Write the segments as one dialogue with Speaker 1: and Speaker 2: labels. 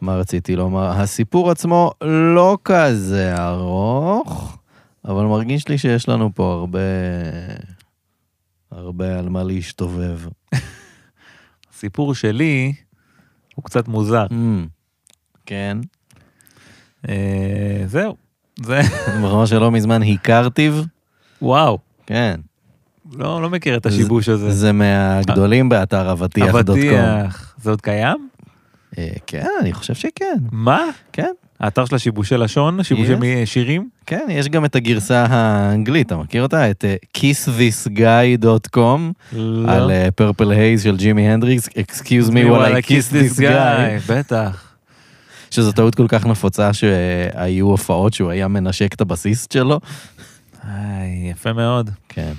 Speaker 1: מה רציתי לומר? הסיפור עצמו לא כזה ארוך, אבל מרגיש לי שיש לנו פה הרבה... הרבה על מה להשתובב.
Speaker 2: הסיפור שלי הוא קצת מוזר.
Speaker 1: כן.
Speaker 2: אה, זהו, זה,
Speaker 1: ברמה שלא מזמן הכרתיו,
Speaker 2: וואו,
Speaker 1: כן.
Speaker 2: לא, לא מכיר את השיבוש הזה.
Speaker 1: זה מהגדולים באתר אבטיח.com.
Speaker 2: אבטיח, זה עוד קיים?
Speaker 1: אה, כן, אני חושב שכן.
Speaker 2: מה?
Speaker 1: כן,
Speaker 2: האתר של השיבושי לשון, שיבושי מ- שירים?
Speaker 1: כן, יש גם את הגרסה האנגלית, אתה מכיר אותה? את אה, kissthisguy.com.
Speaker 2: לא.
Speaker 1: על פרפל הייז של ג'ימי הנדריקס, Excuse me while I kiss this guy,
Speaker 2: בטח.
Speaker 1: שזו טעות כל כך נפוצה שהיו הופעות שהוא היה מנשק את הבסיסט שלו.
Speaker 2: איי, יפה מאוד.
Speaker 1: כן.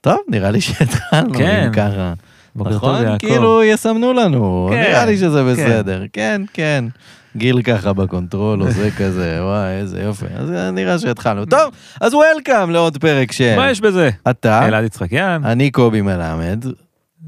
Speaker 1: טוב, נראה לי שהתחלנו,
Speaker 2: כן.
Speaker 1: אם ככה.
Speaker 2: בוקר טוב
Speaker 1: נכון?
Speaker 2: יעקב.
Speaker 1: כאילו יסמנו לנו,
Speaker 2: כן,
Speaker 1: נראה לי שזה
Speaker 2: כן.
Speaker 1: בסדר. כן, כן. גיל ככה בקונטרול, או זה כזה, וואי, איזה יופי. אז אה, נראה שהתחלנו. טוב, אז וולקאם לעוד פרק של...
Speaker 2: מה יש בזה?
Speaker 1: אתה,
Speaker 2: אלעד יצחקיאן.
Speaker 1: אני קובי מלמד,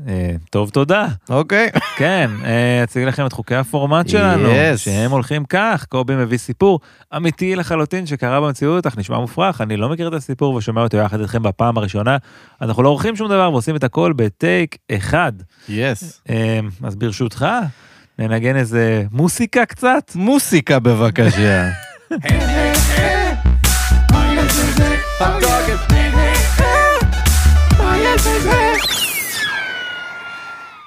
Speaker 2: אה, טוב, תודה.
Speaker 1: אוקיי.
Speaker 2: כן, אה, אציג לכם את חוקי הפורמט שלנו,
Speaker 1: Yes.
Speaker 2: שהם הולכים כך, קובי מביא סיפור אמיתי לחלוטין שקרה במציאות, אך נשמע מופרך, אני לא מכיר את הסיפור ושומע אותו יחד איתכם בפעם הראשונה. אנחנו לא עורכים שום דבר ועושים את הכל בטייק אחד.
Speaker 1: יס.
Speaker 2: אה, אז ברשותך, ננגן איזה מוסיקה קצת.
Speaker 1: מוסיקה בבקשה.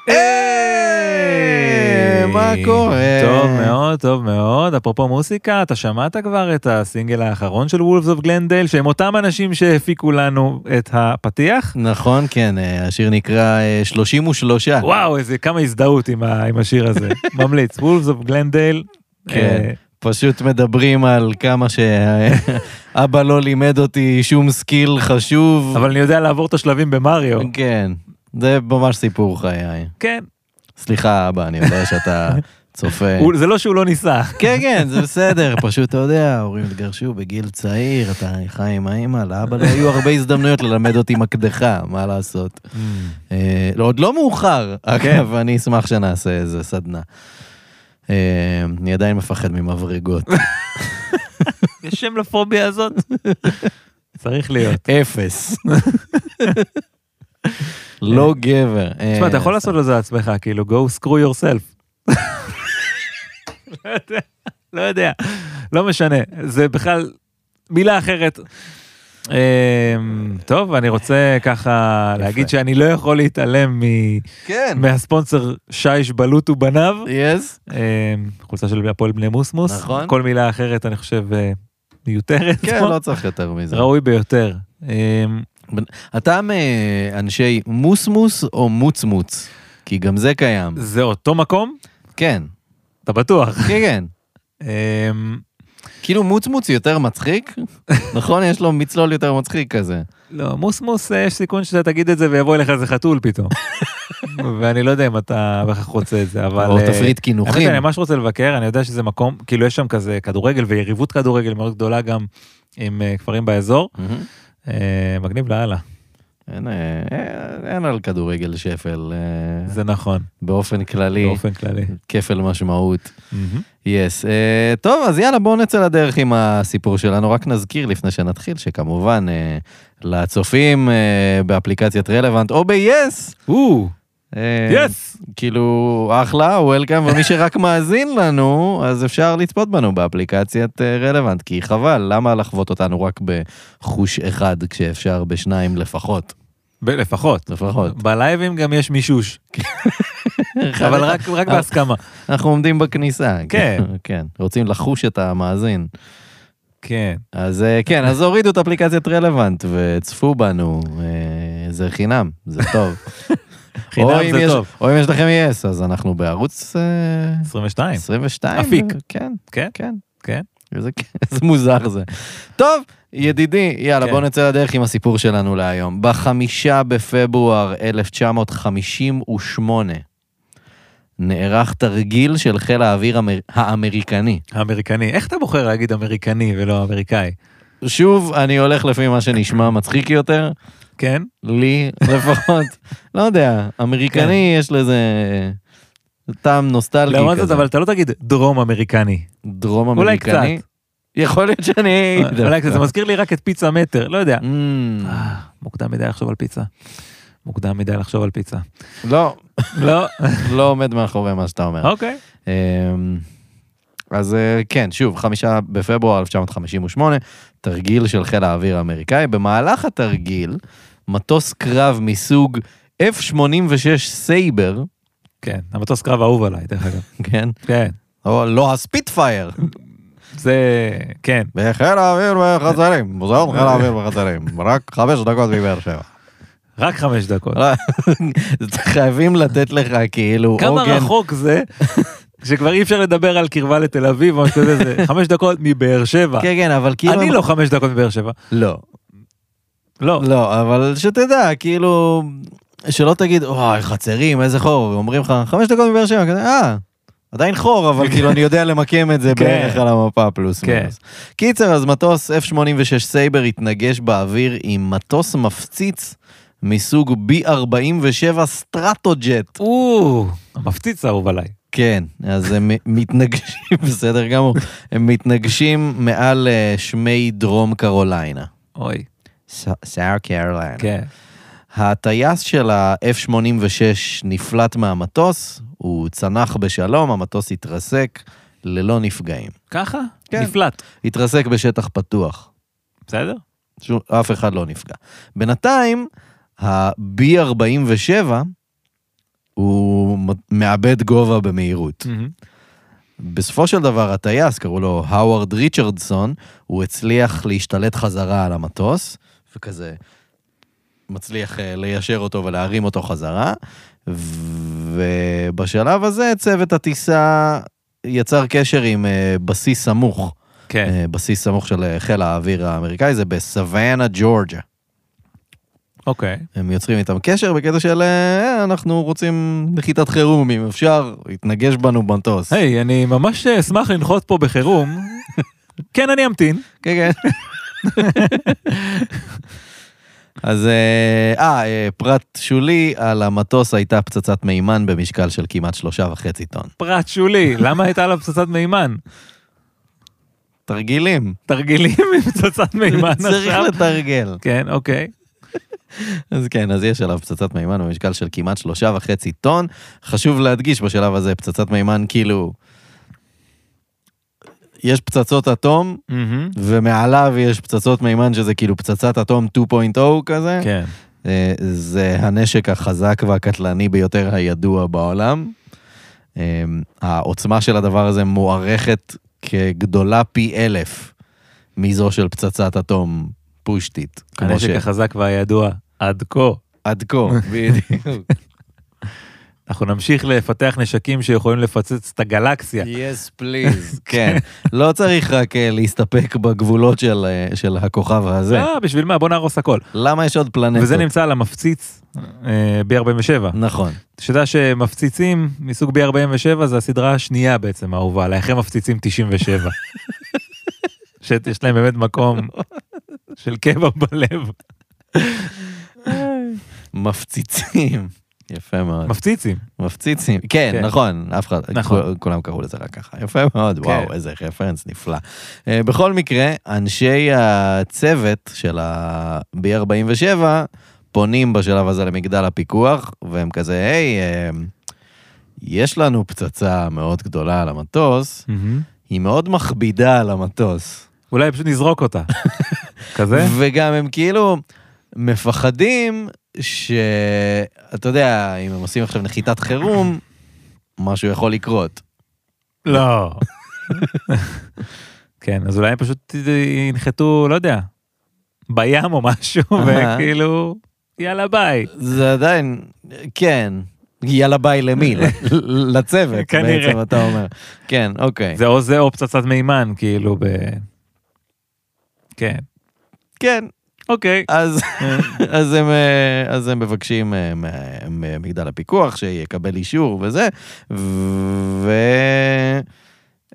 Speaker 2: היי,
Speaker 1: אה, מה קורה?
Speaker 2: טוב מאוד, טוב מאוד. אפרופו מוסיקה, אתה שמעת כבר את הסינגל האחרון של וולפס אוף גלנדל, שהם אותם אנשים שהפיקו לנו את הפתיח?
Speaker 1: נכון, כן, אה, השיר נקרא אה, 33.
Speaker 2: וואו, איזה כמה הזדהות עם ה- עם השיר הזה. ממליץ, וולפס אוף גלנדל.
Speaker 1: כן.
Speaker 2: אה,
Speaker 1: פשוט מדברים על כמה שאבא לא לימד אותי שום סקיל חשוב.
Speaker 2: אבל לא. אני יודע לעבור את השלבים במריו.
Speaker 1: כן, זה ממש סיפור חיי.
Speaker 2: כן.
Speaker 1: סליחה, אבא, אני יודע שאתה צופה.
Speaker 2: הוא- זה לא שהוא לא ניסה.
Speaker 1: כן, כן, זה בסדר, פשוט אתה יודע, ההורים התגרשו בגיל צעיר, אתה חי עם האמא, לאבא לא היו הרבה הזדמנויות ללמד אותי מקדחה, מה לעשות.
Speaker 2: Mm.
Speaker 1: אה, לא, עוד לא מאוחר,
Speaker 2: כן.
Speaker 1: אגב, אני אשמח שנעשה איזה סדנה. אה, אני עדיין מפחד ממברגות.
Speaker 2: יש שם לפוביה הזאת? צריך להיות.
Speaker 1: אפס. לא גבר.
Speaker 2: תשמע, אתה יכול לעשות לזה לעצמך, כאילו, go screw yourself. לא יודע, לא יודע, לא משנה, זה בכלל מילה אחרת. אמ, טוב, אני רוצה ככה להגיד שאני לא יכול להתעלם מ-
Speaker 1: כן.
Speaker 2: מהספונסר שיש בלוט ובניו,
Speaker 1: יס.
Speaker 2: אמ, חולצה של הפועל בני מוסמוס,
Speaker 1: נכון.
Speaker 2: כל מילה אחרת אני חושב אה, מיותרת,
Speaker 1: כן, לא צריך יותר מזה.
Speaker 2: ראוי ביותר. אמ,
Speaker 1: אתה מאנשי אה, מוסמוס או מוצמוץ? כי גם זה קיים.
Speaker 2: זה אותו מקום?
Speaker 1: כן,
Speaker 2: אתה בטוח.
Speaker 1: כן, כן.
Speaker 2: אמ,
Speaker 1: כאילו מוצמוץ יותר מצחיק, נכון? יש לו מצלול יותר מצחיק כזה.
Speaker 2: לא, מוסמוס, אה, יש סיכון שאתה תגיד את זה ויבוא אליך איזה חתול פתאום. ואני לא יודע אם אתה בהכרח רוצה את זה, אבל...
Speaker 1: או
Speaker 2: אה,
Speaker 1: תפריט
Speaker 2: האמת,
Speaker 1: קינוחים.
Speaker 2: אני ממש רוצה לבקר, אני יודע שזה מקום, כאילו יש שם כזה כדורגל ויריבות כדורגל מאוד גדולה גם עם אה, כפרים באזור.
Speaker 1: מהמם.
Speaker 2: אה, מגניב לאללה,
Speaker 1: כן. אין, אה, אה, אין על כדורגל שפל, אה,
Speaker 2: זה נכון,
Speaker 1: באופן כללי,
Speaker 2: באופן כללי.
Speaker 1: כפל משמעות.
Speaker 2: מהמם.
Speaker 1: יס. Yes. אה, טוב, אז יאללה, בואו נצא לדרך עם הסיפור שלנו. רק נזכיר לפני שנתחיל, שכמובן, אה, לצופים אה, באפליקציית רלוונט או ב-yes.
Speaker 2: או, Um,
Speaker 1: אה,
Speaker 2: יס!
Speaker 1: כאילו, אחלה, וולקאם, ומי שרק מאזין לנו, אז אפשר לצפות בנו באפליקציית אה, רלוונט, כי חבל, למה לחוות אותנו רק בחוש אחד, כשאפשר בשניים לפחות?
Speaker 2: ב- לפחות.
Speaker 1: לפחות.
Speaker 2: בלייבים גם יש מישוש, אבל רק רק בהסכמה.
Speaker 1: אנחנו עומדים בכניסה.
Speaker 2: כן.
Speaker 1: כן. רוצים לחוש את המאזין.
Speaker 2: כן.
Speaker 1: אז אה, כן, אז הורידו את אפליקציית רלוונט וצפו בנו, אה, זה חינם, זה טוב.
Speaker 2: חינם
Speaker 1: או אם
Speaker 2: זה
Speaker 1: יש-
Speaker 2: טוב.
Speaker 1: או אם יש לכם יס, אז אנחנו בערוץ אה,
Speaker 2: 22,
Speaker 1: 22.
Speaker 2: אפיק.
Speaker 1: אה, כן,
Speaker 2: כן?
Speaker 1: כן.
Speaker 2: כן.
Speaker 1: איזה איזה מוזר זה. טוב, ידידי, יאללה,
Speaker 2: כן.
Speaker 1: בוא נצא לדרך עם הסיפור שלנו להיום. בחמישה בפברואר 1958 נערך תרגיל של חיל האוויר האמר- האמריקני.
Speaker 2: האמריקני. איך אתה בוחר להגיד אמריקני ולא אמריקאי?
Speaker 1: שוב, אני הולך לפי מה שנשמע מצחיק יותר.
Speaker 2: כן?
Speaker 1: לי לפחות, לא יודע, אמריקני יש לזה טעם נוסטלגי כזה.
Speaker 2: כן. לעומת זאת, אבל אתה לא תגיד דרום אמריקני.
Speaker 1: דרום
Speaker 2: אולי
Speaker 1: אמריקני.
Speaker 2: קצת.
Speaker 1: יכול להיות שאני...
Speaker 2: אולי קצת, זה מזכיר לי רק את פיצה מטר, לא יודע.
Speaker 1: Mm,
Speaker 2: אה, מוקדם מדי לחשוב על פיצה. מוקדם מדי לחשוב על פיצה.
Speaker 1: לא,
Speaker 2: לא,
Speaker 1: לא עומד מאחורי מה שאתה אומר.
Speaker 2: אוקיי.
Speaker 1: אמ, אז אה, כן, שוב, חמישה בפברואר 1958, תרגיל של חיל האוויר האמריקאי. במהלך התרגיל, מטוס קרב מסוג F-86 סייבר,
Speaker 2: כן, המטוס קרב האהוב עליי, דרך אגב.
Speaker 1: כן,
Speaker 2: כן,
Speaker 1: או לא הספיטפייר,
Speaker 2: זה, כן.
Speaker 1: בחיל האוויר בחצרים, מוזיאון חיל האוויר בחצרים, רק חמש דקות מבאר שבע.
Speaker 2: רק חמש דקות.
Speaker 1: לא, חייבים לתת לך כאילו
Speaker 2: כמה
Speaker 1: עוגן.
Speaker 2: רחוק זה, שכבר אי אפשר לדבר על קרבה לתל אביב או משהו כזה, זה חמש דקות מבאר שבע.
Speaker 1: כן, כן, אבל כאילו...
Speaker 2: אני לא חמש דקות מבאר שבע.
Speaker 1: לא.
Speaker 2: לא,
Speaker 1: לא, אבל שתדע, כאילו, שלא תגיד, וואי, חצרים, איזה חור, אומרים לך, חמש דקות מבאר שבע, כזה, אה, עדיין חור, אבל כאילו, אני יודע למקם את זה
Speaker 2: כן.
Speaker 1: בערך על המפה, פלוס
Speaker 2: כן.
Speaker 1: מינוס. קיצר, אז מטוס F-86 סייבר התנגש באוויר עם מטוס מפציץ מסוג B-47 סטרטוג'ט.
Speaker 2: או, המפציץ האהוב עליי.
Speaker 1: כן, אז הם מתנגשים, בסדר גמור, הם מתנגשים מעל אה, שמי דרום קרוליינה.
Speaker 2: אוי,
Speaker 1: סאר קרוליינה.
Speaker 2: כן.
Speaker 1: הטייס של ה-F-86 נפלט מהמטוס, הוא צנח בשלום, המטוס התרסק ללא נפגעים.
Speaker 2: ככה?
Speaker 1: כן.
Speaker 2: נפלט.
Speaker 1: התרסק בשטח פתוח,
Speaker 2: בסדר?
Speaker 1: שום- אף אחד לא נפגע. בינתיים, ה-B-47 הוא מ- מאבד גובה במהירות. בסופו של דבר, הטייס, קראו לו האווארד ריצ'רדסון, הוא הצליח להשתלט חזרה על המטוס, וכזה מצליח אה, ליישר אותו ולהרים אותו חזרה, ובשלב הזה צוות הטיסה יצר קשר עם אה, בסיס סמוך,
Speaker 2: כן.
Speaker 1: אה, בסיס סמוך של אה, חיל האוויר האמריקאי, זה בסוואנה, ג'ורג'ה.
Speaker 2: אוקיי.
Speaker 1: הם יוצרים איתם קשר בקטע של אה, אנחנו רוצים נחיתת חירום, אם אפשר, יתנגש בנו במטוס.
Speaker 2: היי, אני ממש אה, אשמח לנחות פה בחירום. כן, אני אמתין.
Speaker 1: כן, כן. אז אה, אה, אה, פרט שולי, על המטוס הייתה פצצת מימן במשקל של כמעט שלושה וחצי טון.
Speaker 2: פרט שולי, למה הייתה עליו פצצת מימן?
Speaker 1: תרגילים,
Speaker 2: תרגילים עם פצצת מימן
Speaker 1: צריך
Speaker 2: עכשיו?
Speaker 1: לתרגל.
Speaker 2: כן, אוקיי.
Speaker 1: אז כן, אז יש עליו פצצת מימן במשקל של כמעט שלושה וחצי טון. חשוב להדגיש בשלב הזה, פצצת מימן כאילו... יש פצצות אטום,
Speaker 2: מהמם.
Speaker 1: ומעליו יש פצצות מימן שזה כאילו פצצת אטום 2.0 כזה.
Speaker 2: כן.
Speaker 1: אה, זה הנשק החזק והקטלני ביותר הידוע בעולם. אה, העוצמה של הדבר הזה מוערכת כגדולה פי אלף מזו של פצצת אטום פושטית. כמו
Speaker 2: הנשק החזק והידוע עד כה.
Speaker 1: שעד כה, בדיוק.
Speaker 2: אנחנו נמשיך לפתח נשקים שיכולים לפוצץ את הגלקסיה.
Speaker 1: יס פליז. כן, לא צריך רק אה, להסתפק בגבולות של, אה, של הכוכב הזה.
Speaker 2: אה, בשביל מה? בוא נהרוס הכל.
Speaker 1: למה יש עוד פלנטות?
Speaker 2: וזה נמצא על המפציץ אה, B47.
Speaker 1: נכון.
Speaker 2: שתדע שמפציצים מסוג B47 זה הסדרה השנייה בעצם האהובה עליי, אחרי מפציצים 97. שיש להם באמת מקום של קבע בלב.
Speaker 1: מפציצים. יפה מאוד.
Speaker 2: מפציצים.
Speaker 1: מפציצים, כן,
Speaker 2: כן.
Speaker 1: נכון, אף אחד,
Speaker 2: נכון.
Speaker 1: נכון. כולם קראו לזה רק ככה, יפה מאוד,
Speaker 2: כן.
Speaker 1: וואו, איזה רפרנס נפלא. אה, בכל מקרה, אנשי הצוות של ה-B47 פונים בשלב הזה למגדל הפיקוח, והם כזה, היי, אה, יש לנו פצצה מאוד גדולה על המטוס, היא מאוד מכבידה על המטוס,
Speaker 2: אולי פשוט נזרוק אותה. כזה?
Speaker 1: וגם הם כאילו מפחדים שאתה יודע, אם הם עושים עכשיו נחיתת חירום, משהו יכול לקרות.
Speaker 2: לא. כן, אז אולי הם פשוט ינחתו, לא יודע, בים או משהו,
Speaker 1: אהה.
Speaker 2: וכאילו, יאללה ביי.
Speaker 1: זה עדיין, כן. יאללה ביי למי? ל- ל- לצוות,
Speaker 2: כנראה.
Speaker 1: בעצם אתה אומר. כן, אוקיי.
Speaker 2: זה או זה או פצצת מימן, כאילו, ב... כן.
Speaker 1: כן,
Speaker 2: אוקיי.
Speaker 1: אז אז הם, אה, אז הם מבקשים אה, מה- ממגדל הפיקוח שיקבל אישור וזה,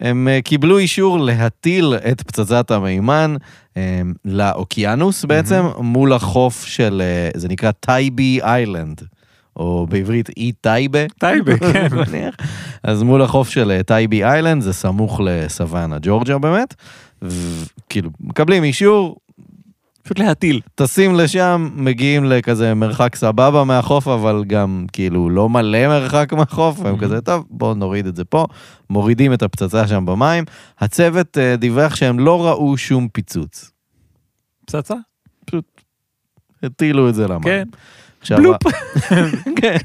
Speaker 1: והם אה, קיבלו אישור להטיל את פצצת המימן אה, לאוקיינוס בעצם, מול החוף של, אה, זה נקרא טייבי איילנד, או בעברית אי טייבה.
Speaker 2: טייבה, כן.
Speaker 1: מניח. אז מול החוף של אה, טייבי איילנד, זה סמוך לסוואנה, ג'ורג'ה באמת. ו- כאילו, מקבלים אישור,
Speaker 2: פשוט להטיל.
Speaker 1: טסים לשם, מגיעים לכזה מרחק סבבה מהחוף, אבל גם כאילו לא מלא מרחק מהחוף, והם
Speaker 2: Mhm.
Speaker 1: כזה, טוב, בואו נוריד את זה פה. מורידים את הפצצה שם במים. הצוות אה, דיווח שהם לא ראו שום פיצוץ.
Speaker 2: פצצה?
Speaker 1: הטילו את זה למים.
Speaker 2: כן.
Speaker 1: עכשיו,
Speaker 2: בלופ.
Speaker 1: כן.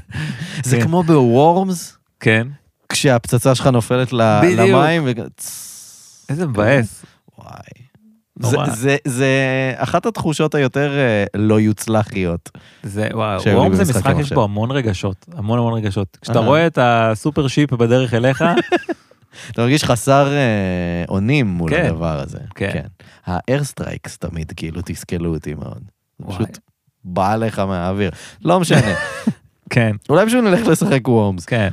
Speaker 1: זה
Speaker 2: כן.
Speaker 1: כמו בוורמס,
Speaker 2: כן.
Speaker 1: כשהפצצה שלך נופלת ל-
Speaker 2: בדיוק.
Speaker 1: למים. ו- צס.
Speaker 2: איזה מבאס.
Speaker 1: וואי. זה,
Speaker 2: נורא.
Speaker 1: זה, זה אחת התחושות היותר אה, לא יוצלחיות.
Speaker 2: זה וואו,
Speaker 1: שהיו לי
Speaker 2: וורם זה
Speaker 1: במשחק
Speaker 2: משחק יש
Speaker 1: המחשב.
Speaker 2: בו המון רגשות, המון המון רגשות. כשאתה
Speaker 1: אה.
Speaker 2: רואה את הסופר שיפ בדרך אליך,
Speaker 1: אתה מרגיש חסר אה, אונים מול
Speaker 2: כן.
Speaker 1: הדבר הזה.
Speaker 2: כן.
Speaker 1: האיירסטרייקס תמיד כאילו תסכלו אותי מאוד. זה
Speaker 2: וואי.
Speaker 1: פשוט בא לך מהאוויר. לא משנה.
Speaker 2: כן,
Speaker 1: אולי פשוט נלך לשחק וורמס.
Speaker 2: כן.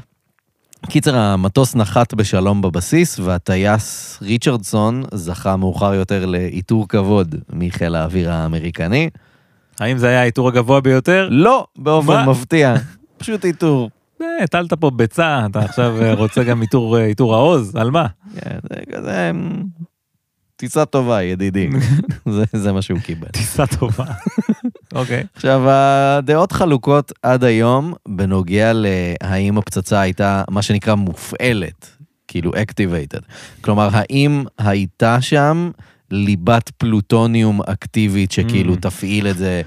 Speaker 1: קיצר, המטוס נחת בשלום בבסיס, והטייס ריצ'רדסון זכה מאוחר יותר לעיטור כבוד מחיל האוויר האמריקני.
Speaker 2: האם זה היה העיטור הגבוה ביותר?
Speaker 1: לא באופן
Speaker 2: מה?
Speaker 1: מפתיע, פשוט עיטור.
Speaker 2: אה, הטלת פה ביצה, אתה עכשיו אה, רוצה גם עיטור, אה, עיטור העוז, על מה?
Speaker 1: כן, זה כזה... אמ, טיסה טובה, ידידי. זה, זה מה שהוא קיבל.
Speaker 2: טיסה טובה. אוקיי.
Speaker 1: עכשיו, הדעות חלוקות עד היום בנוגע להאם הפצצה הייתה מה שנקרא מופעלת, כאילו activated. כלומר, האם הייתה שם ליבת פלוטוניום אקטיבית שכאילו
Speaker 2: Mm.
Speaker 1: תפעיל את זה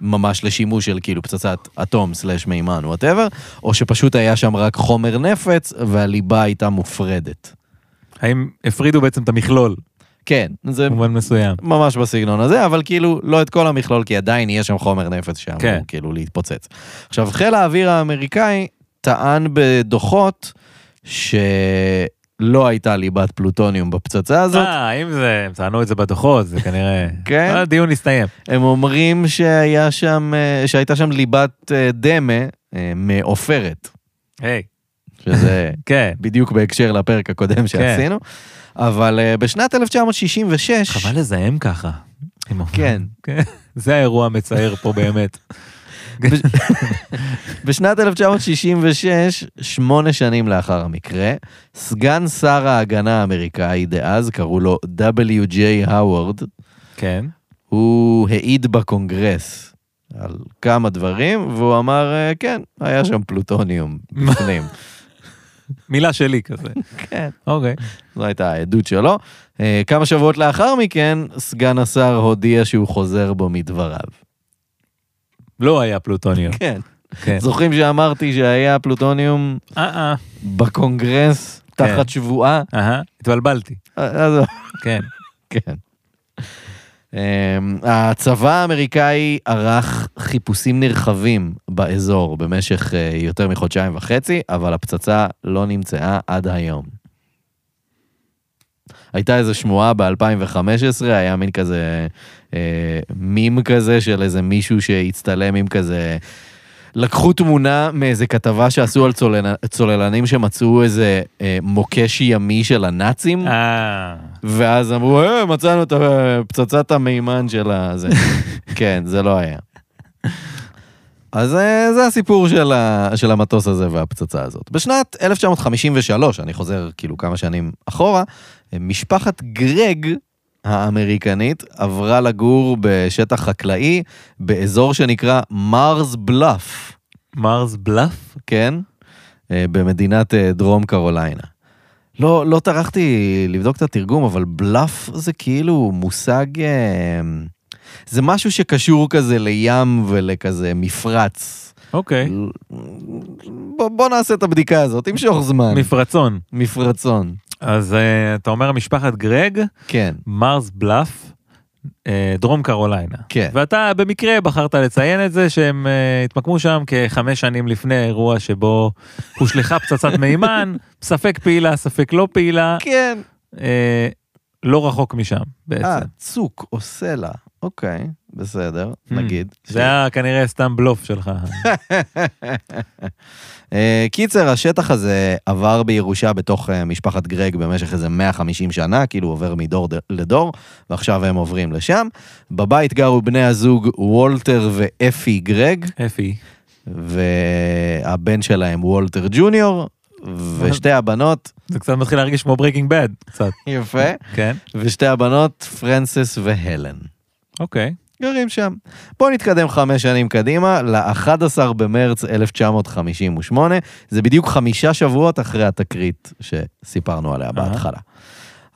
Speaker 1: ממש לשימוש של כאילו פצצת אטום סלאש מימן וואטאבר, או שפשוט היה שם רק חומר נפץ והליבה הייתה מופרדת.
Speaker 2: האם הפרידו בעצם את המכלול,
Speaker 1: כן, זה
Speaker 2: במובן מסוים?
Speaker 1: ממש בסגנון הזה, אבל כאילו לא את כל המכלול, כי עדיין יהיה שם חומר נפץ שאמור כן.
Speaker 2: כן.
Speaker 1: כאילו להתפוצץ. עכשיו, חיל האוויר האמריקאי טען בדוחות שלא הייתה ליבת פלוטוניום בפצצה הזאת.
Speaker 2: אה, אם זה, הם טענו את זה בדוחות, זה כנראה...
Speaker 1: כן.
Speaker 2: אה, הדיון הסתיים.
Speaker 1: הם אומרים שהיה שם, אה, שהייתה שם ליבת אה, דמה אה, מעופרת,
Speaker 2: היי,
Speaker 1: שזה
Speaker 2: כן.
Speaker 1: בדיוק בהקשר לפרק הקודם שעשינו, אבל אה, בשנת 1966...
Speaker 2: חבל לזהם ככה. עם ה-
Speaker 1: כן.
Speaker 2: זה האירוע המצער פה באמת.
Speaker 1: בשנת 1966, שמונה שנים לאחר המקרה, סגן שר ההגנה האמריקאי דאז, קראו לו W.J. האוורד,
Speaker 2: כן.
Speaker 1: הוא העיד בקונגרס על כמה דברים, והוא אמר, "אה, כן, היה שם פלוטוניום
Speaker 2: מה?
Speaker 1: בפנים.
Speaker 2: מילה שלי כזה.
Speaker 1: כן.
Speaker 2: אוקיי.
Speaker 1: זו הייתה העדות שלו. אה, כמה שבועות לאחר מכן, סגן השר הודיע שהוא חוזר בו מדבריו.
Speaker 2: לא היה פלוטוניום.
Speaker 1: כן.
Speaker 2: כן.
Speaker 1: זוכרים שאמרתי שהיה פלוטוניום
Speaker 2: אה אה.
Speaker 1: בקונגרס
Speaker 2: כן.
Speaker 1: תחת שבועה? אה,
Speaker 2: אהה. התבלבלתי.
Speaker 1: אז
Speaker 2: כן.
Speaker 1: כן. אמ, הצבא האמריקאי ערך חיפושים נרחבים באזור במשך אה, יותר מחודשיים וחצי, אבל הפצצה לא נמצאה עד היום. הייתה איזו שמועה ב-2015, היה מין כזה אה, מים כזה של איזה מישהו שהצטלם עם כזה... לקחו תמונה מאיזה כתבה שעשו על צולל... צוללנים שמצאו איזה אה, מוקש ימי של הנאצים.
Speaker 2: אה.
Speaker 1: ואז אמרו, אה, מצאנו את ה- פצצת המימן של הזה. כן, זה לא היה. אז אה, זה הסיפור של, ה, של המטוס הזה והפצצה הזאת. בשנת 1953, אני חוזר כאילו כמה שנים אחורה, משפחת גרג האמריקנית עברה לגור בשטח חקלאי באזור שנקרא מרס בלאף.
Speaker 2: מרס בלאף?
Speaker 1: כן? אה, במדינת אה, דרום קרוליינה. לא, לא טרחתי לבדוק את התרגום, אבל בלאף זה כאילו מושג... אה, זה משהו שקשור כזה לים ולכזה מפרץ.
Speaker 2: אוקיי.
Speaker 1: בוא, בוא נעשה את הבדיקה הזאת, תמשוך זמן.
Speaker 2: מפרצון.
Speaker 1: מפרצון.
Speaker 2: אז אה, אתה אומר משפחת גרג,
Speaker 1: כן,
Speaker 2: מרס בלאף, אה, דרום קרוליינה.
Speaker 1: כן.
Speaker 2: ואתה במקרה בחרת לציין את זה שהם אה, התמקמו שם כחמש שנים לפני האירוע שבו הושלכה פצצת מימן, ספק פעילה, ספק לא פעילה,
Speaker 1: כן.
Speaker 2: אה, לא רחוק משם
Speaker 1: אה,
Speaker 2: בעצם.
Speaker 1: צוק או סלע. אוקיי, בסדר,
Speaker 2: Hmm.
Speaker 1: נגיד.
Speaker 2: זה היה כנראה סתם בלוף שלך.
Speaker 1: אה, קיצר, השטח הזה עבר בירושה בתוך אה, משפחת גרג במשך איזה 150 שנה, כאילו עובר מדור ד- לדור, ועכשיו הם עוברים לשם. בבית גרו בני הזוג וולטר ואפי גרג,
Speaker 2: אפי.
Speaker 1: והבן שלהם וולטר ג'וניור, ושתי הבנות,
Speaker 2: זה קצת מתחיל להרגיש כמו ברייקינג בד, קצת.
Speaker 1: יפה,
Speaker 2: כן,
Speaker 1: ושתי הבנות, פרנסס והלן.
Speaker 2: אוקיי.
Speaker 1: גרים שם. בואו נתקדם חמש שנים קדימה, ל-11 במרץ 1958, זה בדיוק חמישה שבועות אחרי התקרית שסיפרנו עליה
Speaker 2: אהה.
Speaker 1: בהתחלה.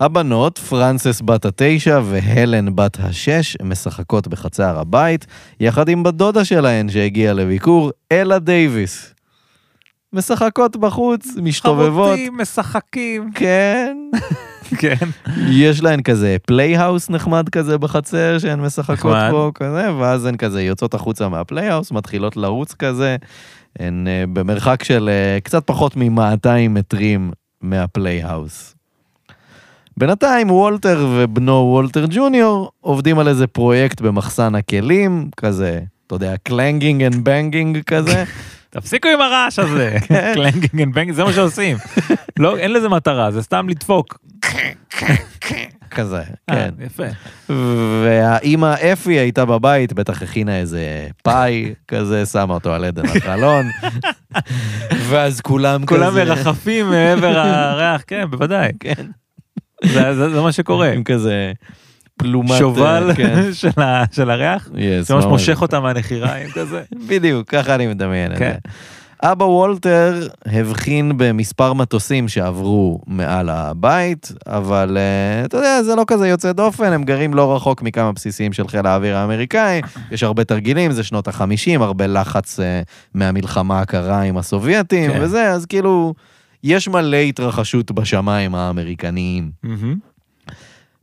Speaker 1: הבנות, פרנסס בת התשע והלן בת השש, משחקות בחצר הבית, יחד עם בת דודה שלהן שהגיעה לביקור, אלה דייוויס. משחקות בחוץ, משתובבות.
Speaker 2: חמודים, משחקים.
Speaker 1: כן.
Speaker 2: כן.
Speaker 1: יש להן כזה פלייהאוס נחמד כזה בחצר שהן משחקות
Speaker 2: נחמד.
Speaker 1: בו כזה, ואז הן כזה יוצאות החוצה מהפלייהאוס, מתחילות לרוץ כזה, הן אה, במרחק של אה, קצת פחות מ-200 מטרים מהפלייהאוס. בינתיים וולטר ובנו וולטר ג'וניור עובדים על איזה פרויקט במחסן הכלים, כזה, אתה יודע, קלנגינג אנד בנגינג כזה.
Speaker 2: תפסיקו עם הרעש הזה. קלנגינג אנד בנגינג, זה מה שעושים. לא, אין לזה מטרה, זה סתם לדפוק.
Speaker 1: כזה,
Speaker 2: אה,
Speaker 1: כן.
Speaker 2: יפה.
Speaker 1: והאימא אפי הייתה בבית, בטח הכינה איזה פאי כזה, שמה אותו על עדן החלון. ואז כולם כזה...
Speaker 2: כולם מרחפים מעבר הריח, כן, בוודאי.
Speaker 1: כן.
Speaker 2: זה- זה זה מה שקורה.
Speaker 1: עם כזה פלומת...
Speaker 2: שובל
Speaker 1: אה, כן.
Speaker 2: של ה- של הריח.
Speaker 1: Yes,
Speaker 2: שממש
Speaker 1: ממש.
Speaker 2: מושך אותה מהנחיריים כזה.
Speaker 1: בדיוק, ככה אני מדמיין את זה.
Speaker 2: כן.
Speaker 1: אבא וולטר הבחין במספר מטוסים שעברו מעל הבית, אבל אה, אתה יודע, זה לא כזה יוצא דופן, הם גרים לא רחוק מכמה בסיסים של חיל האוויר האמריקאי, יש הרבה תרגילים, זה שנות החמישים, הרבה לחץ אה, מהמלחמה הקרה עם הסובייטים
Speaker 2: כן.
Speaker 1: וזה, אז כאילו, יש מלא התרחשות בשמיים האמריקניים.
Speaker 2: מהמם.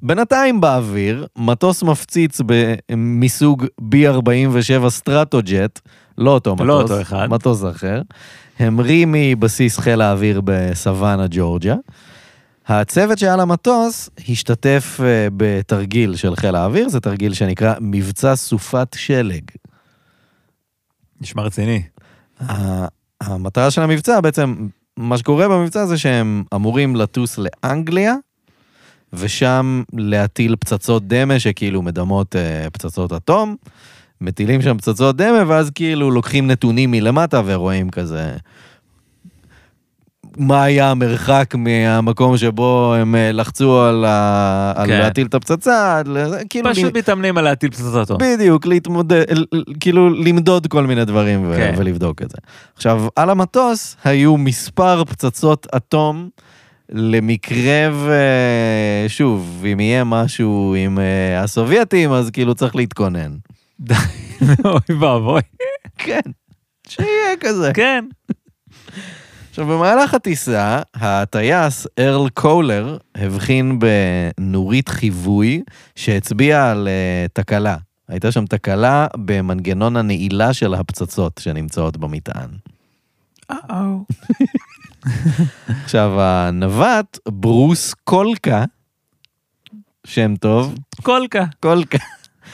Speaker 1: בינתיים באוויר, מטוס מפציץ ב- מסוג B-47 סטרטוג'ט, לא אותו מטוס,
Speaker 2: לא אותו אחד.
Speaker 1: מטוס אחר, המריא מבסיס חיל האוויר בסוואנה, ג'ורג'ה. הצוות שהיה למטוס השתתף אה, בתרגיל של חיל האוויר, זה תרגיל שנקרא מבצע סופת שלג.
Speaker 2: נשמע רציני.
Speaker 1: ה- המטרה של המבצע בעצם, מה שקורה במבצע זה שהם אמורים לטוס לאנגליה, ושם להטיל פצצות דמה שכאילו מדמות אה, פצצות אטום. מטילים שם פצצות דמה, ואז כאילו לוקחים נתונים מלמטה ורואים כזה... מה היה המרחק מהמקום שבו הם אה, לחצו על, ה... על
Speaker 2: כן.
Speaker 1: להטיל את הפצצה, עד לזה, כאילו...
Speaker 2: פשוט מתאמנים על להטיל פצצות אטום.
Speaker 1: בדיוק, להתמודד, ל- ל- כאילו למדוד כל מיני דברים ו-
Speaker 2: כן.
Speaker 1: ולבדוק את זה. עכשיו, על המטוס היו מספר פצצות אטום למקרה ו... שוב, אם יהיה משהו עם אה, הסובייטים, אז כאילו צריך להתכונן.
Speaker 2: אוי ואבוי.
Speaker 1: כן, שיהיה כזה.
Speaker 2: כן.
Speaker 1: עכשיו, במהלך הטיסה, הטייס ארל קולר הבחין בנורית חיווי שהצביע על אה, תקלה. הייתה שם תקלה במנגנון הנעילה של הפצצות שנמצאות במטען.
Speaker 2: אה-או.
Speaker 1: עכשיו, הנווט, ברוס קולקה, שם טוב,
Speaker 2: קולקה.
Speaker 1: קולקה,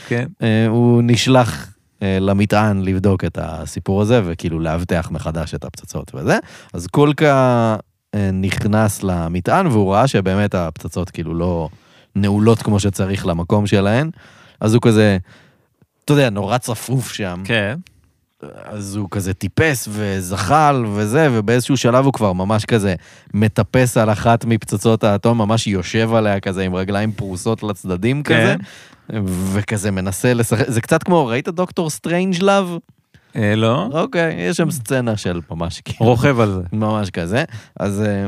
Speaker 2: כן.
Speaker 1: אה, הוא נשלח אה, למטען לבדוק את הסיפור הזה וכאילו לאבטח מחדש את הפצצות וזה. אז קולקה אה, נכנס למטען והוא ראה שבאמת הפצצות כאילו לא נעולות כמו שצריך למקום שלהן. אז הוא כזה, אתה יודע, נורא צפוף שם.
Speaker 2: כן.
Speaker 1: אז הוא כזה טיפס וזחל וזה, ובאיזשהו שלב הוא כבר ממש כזה מטפס על אחת מפצצות האטום, ממש יושב עליה כזה עם רגליים פרוסות לצדדים כזה,
Speaker 2: כן.
Speaker 1: וכזה מנסה לשחק, זה קצת כמו, ראית דוקטור סטרנג' לאב?
Speaker 2: אה, לא.
Speaker 1: אוקיי, יש שם סצנה של ממש כאילו,
Speaker 2: רוכב על זה.
Speaker 1: ממש כזה. אז, אה,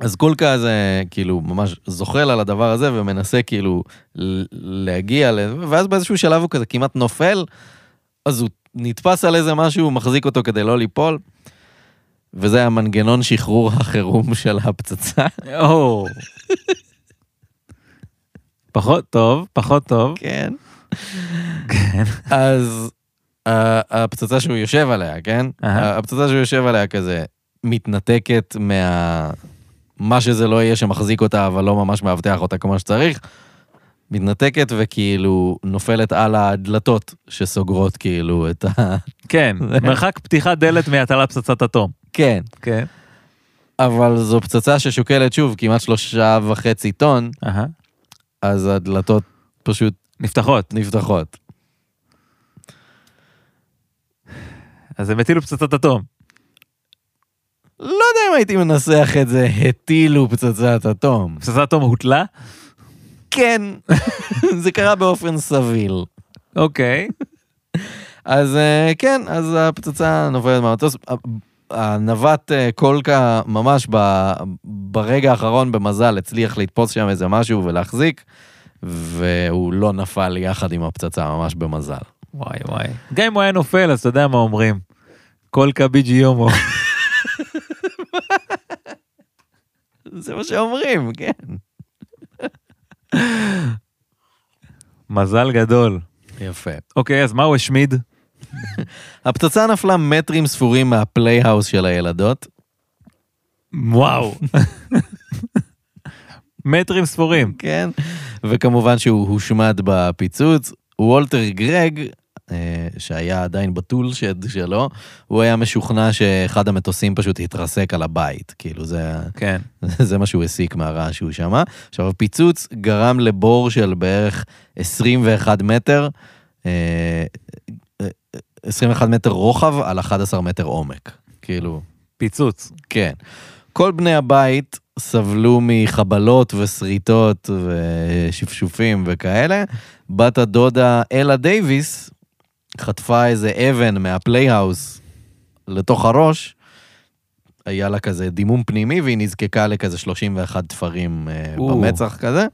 Speaker 1: אז קולקה הזה כאילו ממש זוחל על הדבר הזה ומנסה כאילו ל- להגיע, ל- ואז באיזשהו שלב הוא כזה כמעט נופל, אז הוא נתפס על איזה משהו, הוא מחזיק אותו כדי לא ליפול. וזה היה מנגנון שחרור החירום של הפצצה.
Speaker 2: או. פחות טוב, פחות טוב.
Speaker 1: כן.
Speaker 2: כן.
Speaker 1: אז ה- הפצצה שהוא יושב עליה, כן?
Speaker 2: אהה.
Speaker 1: הפצצה שהוא יושב עליה כזה מתנתקת מה... מה שזה לא יהיה שמחזיק אותה, אבל לא ממש מאבטח אותה כמו שצריך. מתנתקת וכאילו נופלת על הדלתות שסוגרות כאילו את ה...
Speaker 2: כן, מרחק פתיחת דלת מהטלת פצצת אטום.
Speaker 1: כן.
Speaker 2: כן.
Speaker 1: אבל זו פצצה ששוקלת שוב כמעט שלושה וחצי טון,
Speaker 2: אהה.
Speaker 1: אז הדלתות פשוט
Speaker 2: נפתחות.
Speaker 1: נפתחות.
Speaker 2: אז הם הטילו פצצת אטום.
Speaker 1: לא יודע אם הייתי מנסח את זה, הטילו פצצת אטום.
Speaker 2: פצצת אטום הוטלה?
Speaker 1: כן, זה קרה באופן סביל.
Speaker 2: אוקיי.
Speaker 1: אז אה, כן, אז הפצצה נופלת מהמטוס. ה- הנווט אה, קולקה ממש ב, ברגע האחרון במזל הצליח לתפוס שם איזה משהו ולהחזיק, והוא לא נפל יחד עם הפצצה, ממש במזל.
Speaker 2: וואי וואי. גם אם הוא היה נופל, אז אתה יודע מה אומרים. כל קביג'י יומו.
Speaker 1: זה מה שאומרים, כן.
Speaker 2: מזל גדול.
Speaker 1: יפה.
Speaker 2: אוקיי, אז מה הוא השמיד?
Speaker 1: הפצצה נפלה מטרים ספורים מהפלייהאוס של הילדות.
Speaker 2: וואו. מטרים ספורים.
Speaker 1: כן. וכמובן שהוא הושמד בפיצוץ. וולטר גרג, אה, שהיה עדיין בטולשד שלו, הוא היה משוכנע שאחד המטוסים פשוט התרסק על הבית. כאילו, זה,
Speaker 2: כן.
Speaker 1: זה מה שהוא הסיק מהרעש שהוא שמע. עכשיו, הפיצוץ גרם לבור של בערך 21 מטר, אה, אה, 21 מטר רוחב על 11 מטר עומק. כאילו,
Speaker 2: פיצוץ.
Speaker 1: כן. כל בני הבית סבלו מחבלות ושריטות ושפשופים וכאלה. בת הדודה אלה דייוויס חטפה איזה אבן מהפלייהאוס לתוך הראש. היה לה כזה דימום פנימי והיא נזקקה לכזה 31 תפרים אה,
Speaker 2: או.
Speaker 1: במצח כזה.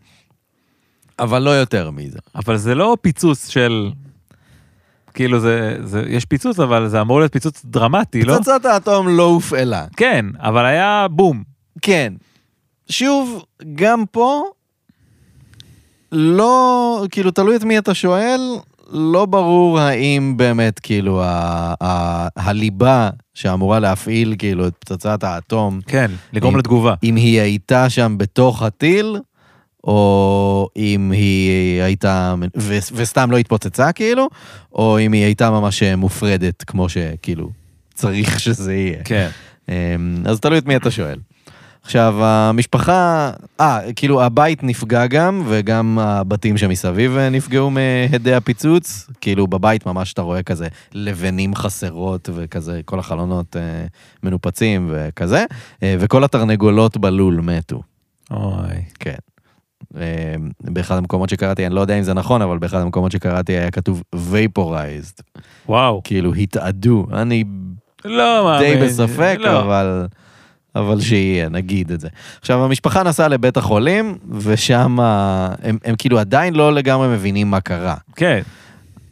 Speaker 1: אבל לא יותר מזה.
Speaker 2: אבל זה לא פיצוץ של... כאילו זה, זה, יש פיצוץ, אבל זה אמור להיות פיצוץ דרמטי, לא?
Speaker 1: פצצת האטום לא הופעלה.
Speaker 2: כן, אבל היה בום.
Speaker 1: כן. שוב, גם פה, לא, כאילו, תלוי את מי אתה שואל, לא ברור האם באמת, כאילו, ה- ה- הליבה שאמורה להפעיל, כאילו, את פצצת האטום,
Speaker 2: כן, לגרום
Speaker 1: אם-
Speaker 2: לתגובה.
Speaker 1: אם היא הייתה שם בתוך הטיל, או אם היא הייתה, ו- וסתם לא התפוצצה, כאילו, או אם היא הייתה ממש אה, מופרדת, כמו שכאילו, צריך שזה יהיה.
Speaker 2: כן.
Speaker 1: אמ, אז תלוי את מי אתה שואל. עכשיו, המשפחה, אה, כאילו הבית נפגע גם, וגם הבתים שמסביב אה, נפגעו מהדי הפיצוץ. כאילו בבית ממש אתה רואה כזה לבנים חסרות וכזה, כל החלונות אה, מנופצים וכזה, אה, וכל התרנגולות בלול מתו.
Speaker 2: אוי.
Speaker 1: כן. אה, באחד המקומות שקראתי, אני לא יודע אם זה נכון, אבל באחד המקומות שקראתי היה כתוב vaporized,
Speaker 2: וואו.
Speaker 1: כאילו התאדו. אני
Speaker 2: לא מאמין.
Speaker 1: די בספק,
Speaker 2: לא.
Speaker 1: אבל... אבל שיהיה, נגיד את זה. עכשיו, המשפחה נסעה לבית החולים, ושם ה- הם, הם כאילו עדיין לא לגמרי מבינים מה קרה.
Speaker 2: כן.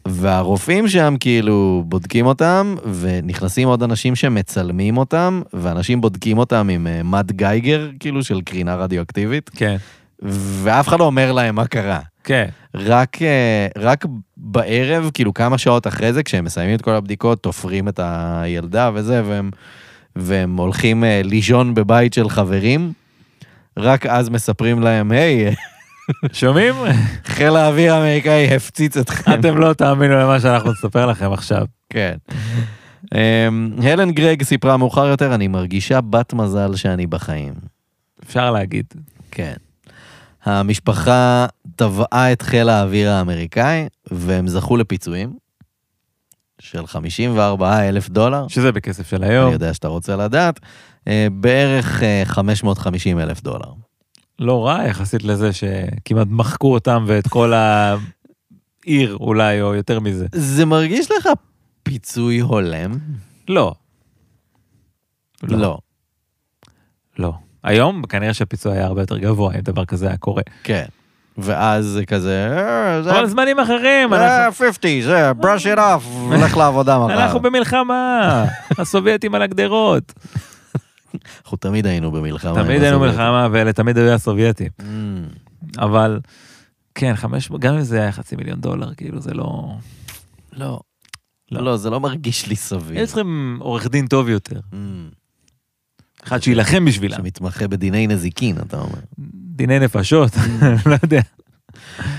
Speaker 1: והרופאים שם כאילו בודקים אותם, ונכנסים עוד אנשים שמצלמים אותם, ואנשים בודקים אותם עם אה, מד גייגר, כאילו של קרינה רדיואקטיבית,
Speaker 2: כן.
Speaker 1: ואף אחד לא אומר להם מה קרה.
Speaker 2: כן.
Speaker 1: רק, אה, רק בערב, כאילו כמה שעות אחרי זה, כשהם מסיימים את כל הבדיקות, תופרים את הילדה וזה, והם, והם הולכים אה, לישון בבית של חברים, רק אז מספרים להם, היי,
Speaker 2: שומעים?
Speaker 1: חיל האוויר האמריקאי הפציץ אתכם.
Speaker 2: אתם לא תאמינו למה שאנחנו נספר לכם עכשיו.
Speaker 1: כן. אמ, הלן גרג סיפרה מאוחר יותר, אני מרגישה בת מזל שאני בחיים.
Speaker 2: אפשר להגיד.
Speaker 1: כן. המשפחה תבעה את חיל האוויר האמריקאי, והם זכו לפיצויים של 54 אלף דולר.
Speaker 2: שזה בכסף של
Speaker 1: אני
Speaker 2: היום.
Speaker 1: יודע שאתה רוצה לדעת, אה, בערך אה, 550 אלף דולר.
Speaker 2: לא רע יחסית לזה שכמעט מחקו אותם ואת כל העיר אולי, או יותר מזה.
Speaker 1: זה מרגיש לך פיצוי הולם?
Speaker 2: לא.
Speaker 1: לא.
Speaker 2: לא. היום כנראה שהפיצוי היה הרבה יותר גבוה אם דבר כזה היה קורה.
Speaker 1: כן. ואז זה כזה, "אה, זה
Speaker 2: אבל זמנים אחרים,
Speaker 1: זה
Speaker 2: אנחנו-
Speaker 1: 50, זה brush it off, לך לעבודה מחר.
Speaker 2: אנחנו במלחמה, הסובייטים על הגדרות.
Speaker 1: אנחנו תמיד היינו במלחמה. עם
Speaker 2: תמיד היינו
Speaker 1: הסובייטים.
Speaker 2: מלחמה ואלה תמיד היו הסובייטים.
Speaker 1: אמ,
Speaker 2: אבל כן, 500, גם אם זה היה חצי מיליון דולר, כאילו זה לא...
Speaker 1: לא.
Speaker 2: לא.
Speaker 1: לא, זה לא מרגיש לי סביר.
Speaker 2: היו צריכים עורך דין טוב יותר,
Speaker 1: אמ.
Speaker 2: אחד שיילחם בשבילם.
Speaker 1: שמתמחה בדיני נזיקין, אתה אומר.
Speaker 2: דיני נפשות, לא יודע.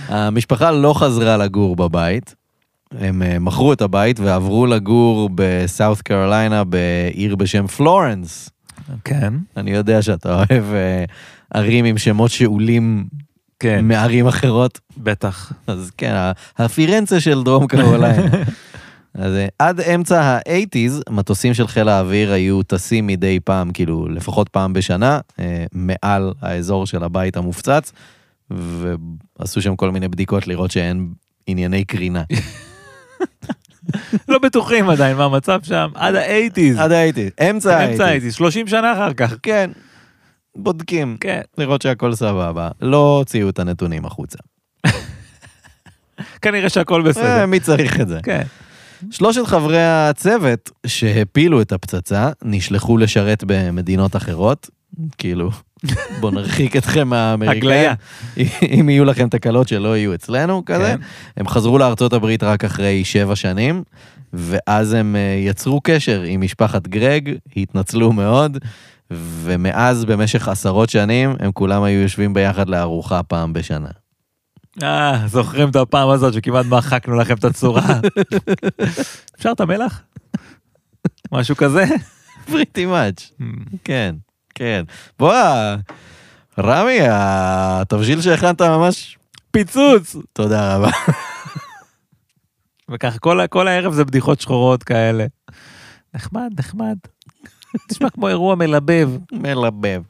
Speaker 1: המשפחה לא חזרה לגור בבית. הם אה, מכרו את הבית ועברו לגור בסאוף קרוליינה בעיר בשם פלורנס.
Speaker 2: כן,
Speaker 1: אני יודע שאתה אוהב אה, ערים עם שמות שעולים
Speaker 2: כן,
Speaker 1: מערים אחרות,
Speaker 2: בטח.
Speaker 1: אז כן, ה- הפירנצה של דרום קרוליינה. אז אה, עד אמצע ה-80's, מטוסים של חיל האוויר היו טסים מדי פעם, כאילו לפחות פעם בשנה, אה, מעל האזור של הבית המופצץ, ועשו שם כל מיני בדיקות לראות שאין ענייני קרינה.
Speaker 2: לא בטוחים עדיין מה המצב שם, עד ה-80's.
Speaker 1: עד ה-80's, אמצע
Speaker 2: אמצע
Speaker 1: ה-80's.
Speaker 2: ה-80's, 30 שנה אחר כך.
Speaker 1: כן, בודקים,
Speaker 2: כן.
Speaker 1: לראות שהכל סבבה. לא הוציאו את הנתונים החוצה.
Speaker 2: כנראה שהכל
Speaker 1: אה,
Speaker 2: בסדר.
Speaker 1: מי צריך את זה?
Speaker 2: כן.
Speaker 1: שלושת חברי הצוות שהפילו את הפצצה נשלחו לשרת במדינות אחרות. כאילו, בוא נרחיק אתכם מהאמריקאים.
Speaker 2: הגליה.
Speaker 1: אם יהיו לכם תקלות שלא יהיו אצלנו כזה.
Speaker 2: כן.
Speaker 1: הם חזרו לארצות הברית רק אחרי שבע שנים, ואז הם אה, יצרו קשר עם משפחת גרג, התנצלו מאוד, ומאז במשך עשרות שנים הם כולם היו יושבים ביחד לארוחה פעם בשנה.
Speaker 2: אה, זוכרים את הפעם הזאת שכמעט מחקנו לכם את הצורה. אפשר את המלח? משהו כזה?
Speaker 1: פריטי מאץ'. כן, כן. בוא, רמי, התבשיל שהכנת ממש,
Speaker 2: פיצוץ!
Speaker 1: תודה רבה.
Speaker 2: וככה, כל, ה- כל הערב זה בדיחות שחורות כאלה. נחמד, נחמד. נשמע כמו אירוע מלבב.
Speaker 1: מלבב.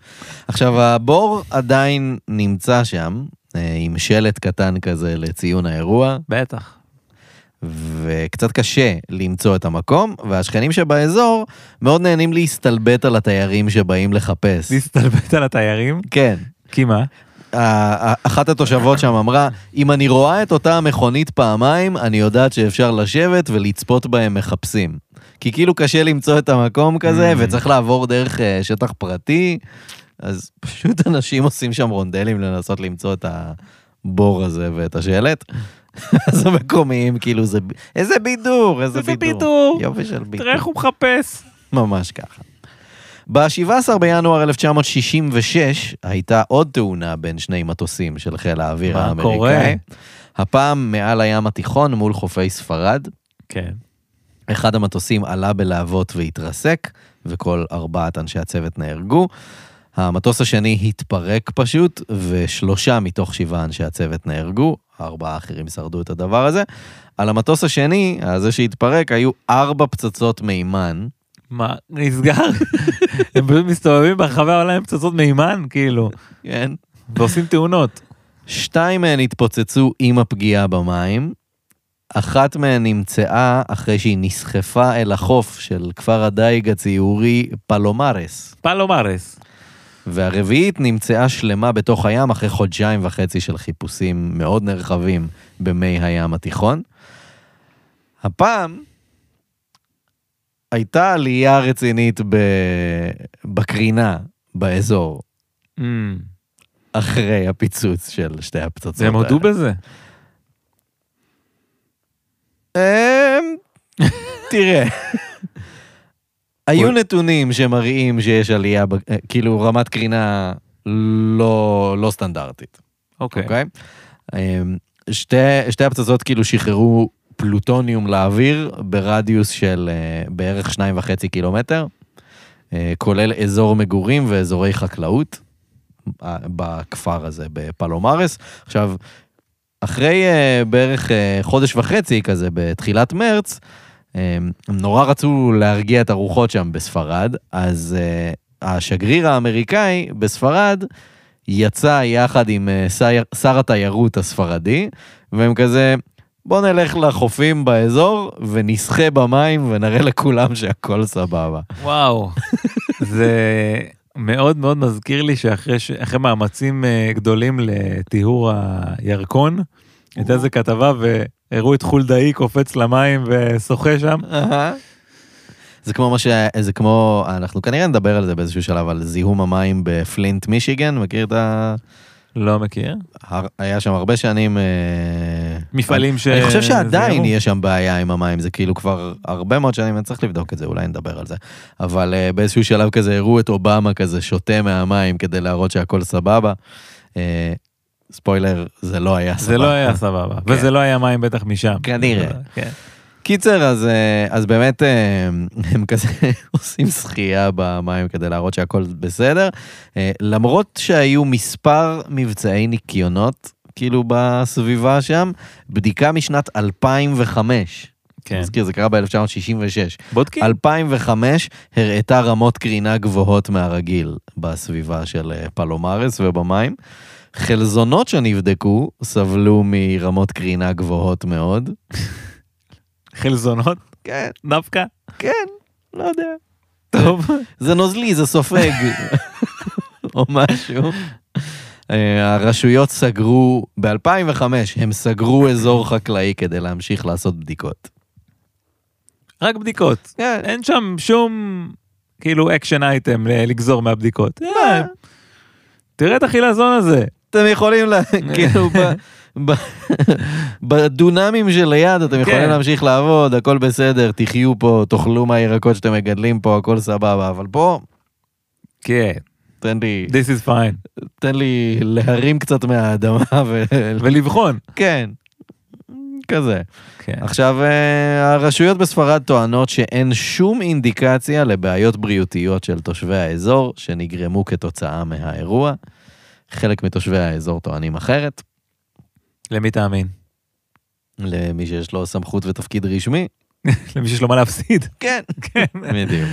Speaker 1: עכשיו, הבור עדיין נמצא שם, אה, עם שלט קטן כזה לציון האירוע,
Speaker 2: בטח.
Speaker 1: וקצת קשה למצוא את המקום, והשכנים שבאזור מאוד נהנים להסתלבט על התיירים שבאים לחפש.
Speaker 2: להסתלבט על התיירים?
Speaker 1: כן.
Speaker 2: כי מה?
Speaker 1: ה- ה- אחת התושבות שם אמרה, אם אני רואה את אותה המכונית פעמיים, אני יודעת שאפשר לשבת ולצפות בהם מחפשים. כי כאילו קשה למצוא את המקום כזה,
Speaker 2: Mm.
Speaker 1: וצריך לעבור דרך אה, שטח פרטי, אז פשוט אנשים עושים שם רונדלים לנסות למצוא את הבור הזה ואת השלט. אז המקומיים, כאילו, זה... ב- איזה בידור, איזה
Speaker 2: איזה
Speaker 1: בידור.
Speaker 2: בידור.
Speaker 1: יופי של בידור.
Speaker 2: תראה איך הוא מחפש.
Speaker 1: ממש ככה. ב-17 בינואר 1966 הייתה עוד תאונה בין שני מטוסים של חיל האוויר
Speaker 2: מה
Speaker 1: האמריקאי.
Speaker 2: קורה?
Speaker 1: הפעם מעל הים התיכון מול חופי ספרד.
Speaker 2: כן.
Speaker 1: אחד המטוסים עלה בלהבות והתרסק, וכל ארבעת אנשי הצוות נהרגו. המטוס השני התפרק פשוט, ושלושה מתוך שבעה אנשי הצוות נהרגו, ארבעה האחרים שרדו את הדבר הזה. על המטוס השני, הזה שהתפרק, היו ארבע פצצות מימן.
Speaker 2: מה, נסגר? הם פשוט מסתובבים ברחבי העולם עם פצצות מימן, כאילו,
Speaker 1: כן.
Speaker 2: ועושים תאונות.
Speaker 1: שתיים מהן התפוצצו עם הפגיעה במים, אחת מהן נמצאה אחרי שהיא נסחפה אל החוף של כפר הדייג הציורי פלומרס,
Speaker 2: פלומרס.
Speaker 1: והרביעית נמצאה שלמה בתוך הים אחרי חודשיים וחצי של חיפושים מאוד נרחבים במי הים התיכון. הפעם הייתה עלייה רצינית ב... בקרינה באזור
Speaker 2: Mm.
Speaker 1: אחרי הפיצוץ של שתי הפצצות
Speaker 2: הם הודו בזה.
Speaker 1: אמ, תראה, היו נתונים שמראים שיש עלייה, ב- אה, כאילו רמת קרינה לא, לא סטנדרטית,
Speaker 2: אוקיי.
Speaker 1: אוקיי? אמ, שתי, שתי הפצצות כאילו שחררו פלוטוניום לאוויר ברדיוס של אה, בערך שניים וחצי קילומטר, אה, כולל אזור מגורים ואזורי חקלאות אה, בכפר הזה בפלומרס. עכשיו, אחרי uh, בערך uh, חודש וחצי כזה, בתחילת מרץ, um, הם נורא רצו להרגיע את הרוחות שם בספרד, אז uh, השגריר האמריקאי בספרד יצא יחד עם uh, שר, שר התיירות הספרדי, והם כזה, בוא נלך לחופים באזור ונשחה במים ונראה לכולם שהכל סבבה.
Speaker 2: וואו. זה מאוד מאוד מזכיר לי שאחרי ש- אחרי מאמצים אה, גדולים לטיהור הירקון, הייתה איזה כתבה והראו את חולדאי קופץ למים ושוחה שם.
Speaker 1: זה כמו מה ש... זה כמו, אנחנו כנראה נדבר על זה באיזשהו שלב, על זיהום המים בפלינט מישיגן, מכיר את ה...
Speaker 2: לא מכיר.
Speaker 1: הר- היה שם הרבה שנים... אה,
Speaker 2: מפעלים ש...
Speaker 1: אני חושב שעדיין
Speaker 2: זהו.
Speaker 1: יש שם בעיה עם המים, זה כאילו כבר הרבה מאוד שנים, אני צריך לבדוק את זה, אולי נדבר על זה. אבל אה, באיזשהו שלב כזה הראו את אובמה כזה שותה מהמים כדי להראות שהכל סבבה. אה, ספוילר, זה לא היה סבבה.
Speaker 2: זה לא היה סבבה, וזה לא היה מים בטח משם.
Speaker 1: כנראה.
Speaker 2: כן.
Speaker 1: קיצר, אז, אה, אז באמת אה, הם כזה עושים שחייה במים כדי להראות שהכל בסדר. אה, למרות שהיו מספר מבצעי ניקיונות, כאילו, בסביבה שם, בדיקה משנת 2005
Speaker 2: כן.
Speaker 1: נזכיר, זה קרה ב-1966.
Speaker 2: בודקים.
Speaker 1: 2005 הראתה רמות קרינה גבוהות מהרגיל בסביבה של אה, פלומרס ובמים. חלזונות שנבדקו סבלו מרמות קרינה גבוהות מאוד.
Speaker 2: חלזונות
Speaker 1: כן,
Speaker 2: דווקא.
Speaker 1: כן, לא יודע.
Speaker 2: טוב.
Speaker 1: זה נוזלי, זה סופג, או משהו. אה, הרשויות סגרו, ב-2005 הם סגרו אזור חקלאי כדי להמשיך לעשות בדיקות.
Speaker 2: רק בדיקות.
Speaker 1: כן,
Speaker 2: אין שם שום כאילו אקשן אייטם לגזור מהבדיקות. אה, תראה את החילזון הזה.
Speaker 1: אתם יכולים, לה- כאילו, ב- ב- בדונמים שליד אתם יכולים
Speaker 2: כן.
Speaker 1: להמשיך לעבוד, הכל בסדר, תחיו פה, תאכלו מהירקות שאתם מגדלים פה, הכל סבבה, אבל פה,
Speaker 2: כן.
Speaker 1: תן לי,
Speaker 2: This is fine.
Speaker 1: תן לי להרים קצת מהאדמה ו...
Speaker 2: ולבחון.
Speaker 1: כן, כזה.
Speaker 2: כן.
Speaker 1: עכשיו, אה, הרשויות בספרד טוענות שאין שום אינדיקציה לבעיות בריאותיות של תושבי האזור שנגרמו כתוצאה מהאירוע. חלק מתושבי האזור טוענים אחרת,
Speaker 2: למי תאמין?
Speaker 1: למי שיש לו סמכות ותפקיד רשמי.
Speaker 2: למי שיש לו מה להפסיד.
Speaker 1: כן.
Speaker 2: כן.
Speaker 1: בדיוק.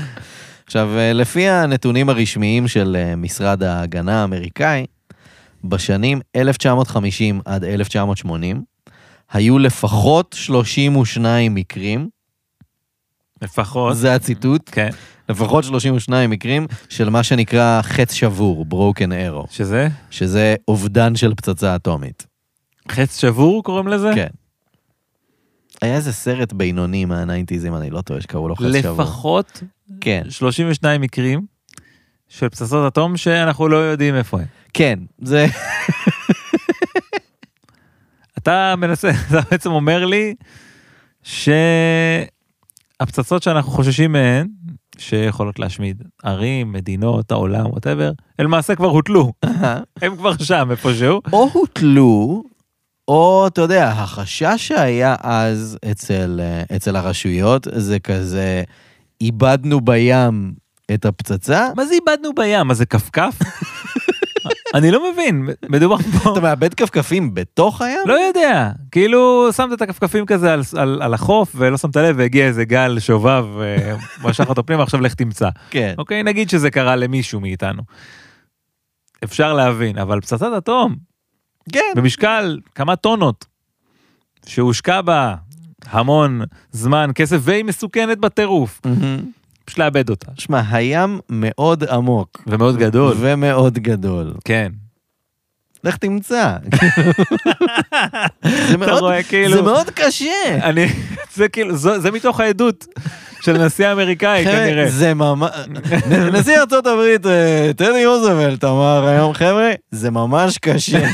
Speaker 1: עכשיו, אה, לפי הנתונים הרשמיים של אה, משרד ההגנה האמריקאי, בשנים 1950 עד 1980 היו לפחות 32 מקרים,
Speaker 2: לפחות.
Speaker 1: זה הציטוט,
Speaker 2: כן.
Speaker 1: לפחות 32 מקרים של מה שנקרא חץ שבור, broken arrow,
Speaker 2: שזה?
Speaker 1: שזה אובדן של פצצה אטומית.
Speaker 2: חץ שבור קוראים לזה?
Speaker 1: כן. היה איזה סרט בינוני מהניינטיז, אם אני לא טועה, שקראו לו חץ שבור.
Speaker 2: לפחות
Speaker 1: כן,
Speaker 2: 32 מקרים של פצצות אטום שאנחנו לא יודעים איפה הם.
Speaker 1: כן, זה...
Speaker 2: אתה מנסה, אתה בעצם אומר לי שהפצצות שאנחנו חוששים מהן, שיכולות להשמיד ערים, מדינות, העולם, ווטאבר, הן למעשה כבר הוטלו, הם כבר שם איפשהו.
Speaker 1: או הוטלו, או אתה יודע, החשש שהיה אז אצל, אה, אצל הרשויות זה כזה, איבדנו בים את הפצצה.
Speaker 2: מה זה איבדנו בים? מה זה כפכף? אני לא מבין, מדובר פה...
Speaker 1: אתה מאבד כפכפים בתוך הים?
Speaker 2: לא יודע, כאילו שמת את הכפכפים כזה על, על, על החוף ולא שמת לב והגיע איזה גל שובב ומשך אותו פנימה עכשיו לך תמצא.
Speaker 1: כן.
Speaker 2: אוקיי נגיד שזה קרה למישהו מאיתנו. אפשר להבין אבל פצצת אטום אוקיי.
Speaker 1: כן.
Speaker 2: במשקל כמה טונות שהושקע בה המון זמן כסף והיא מסוכנת בטירוף
Speaker 1: מהמם.
Speaker 2: פשוט לאבד אותה
Speaker 1: שמע, הים מאוד עמוק.
Speaker 2: ומאוד גדול
Speaker 1: ומאוד גדול.
Speaker 2: כן
Speaker 1: לך תמצא. זה
Speaker 2: אתה
Speaker 1: מאוד-
Speaker 2: רואה
Speaker 1: זה
Speaker 2: כאילו
Speaker 1: מאוד קשה.
Speaker 2: אני זה כאילו זו- זה מתוך העדות של הנשיא האמריקאי
Speaker 1: חבר'ה,
Speaker 2: אה, כנראה
Speaker 1: כן, זה ממש... נשיא ארצות הברית, אה, טדי רוזוולט אמר היום, חבר'ה, זה ממש קשה.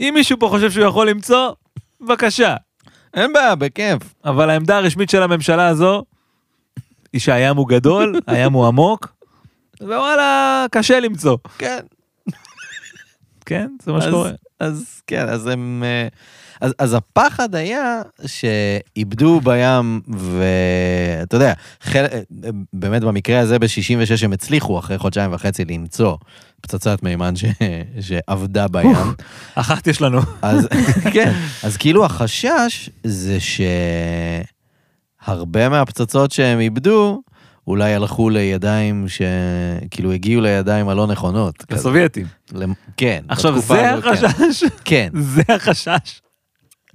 Speaker 2: אם מישהו פה חושב שהוא יכול למצוא, בבקשה.
Speaker 1: אין בעיה, בכיף.
Speaker 2: אבל העמדה הרשמית של הממשלה הזו, היא שהים הוא גדול, הים הוא עמוק, ווואלה, קשה למצוא.
Speaker 1: כן.
Speaker 2: כן, זה מה
Speaker 1: אז-
Speaker 2: שקורה.
Speaker 1: אז כן, אז הם... אה, אז, אז הפחד היה שאיבדו בים, ואתה יודע, חל... אה, באמת במקרה הזה ב-66 הם הצליחו אחרי חודשיים וחצי למצוא פצצת מימן ש... שעבדה בים.
Speaker 2: אחת יש לנו.
Speaker 1: אז כן, אז כאילו החשש זה שהרבה מהפצצות שהם איבדו, אולי הלכו לידיים ש... כאילו הגיעו לידיים הלא נכונות. כזה.
Speaker 2: לסובייטים.
Speaker 1: למ- כן.
Speaker 2: עכשיו,
Speaker 1: בתקופה
Speaker 2: זה
Speaker 1: הזאת, כן.
Speaker 2: החשש,
Speaker 1: כן,
Speaker 2: זה החשש.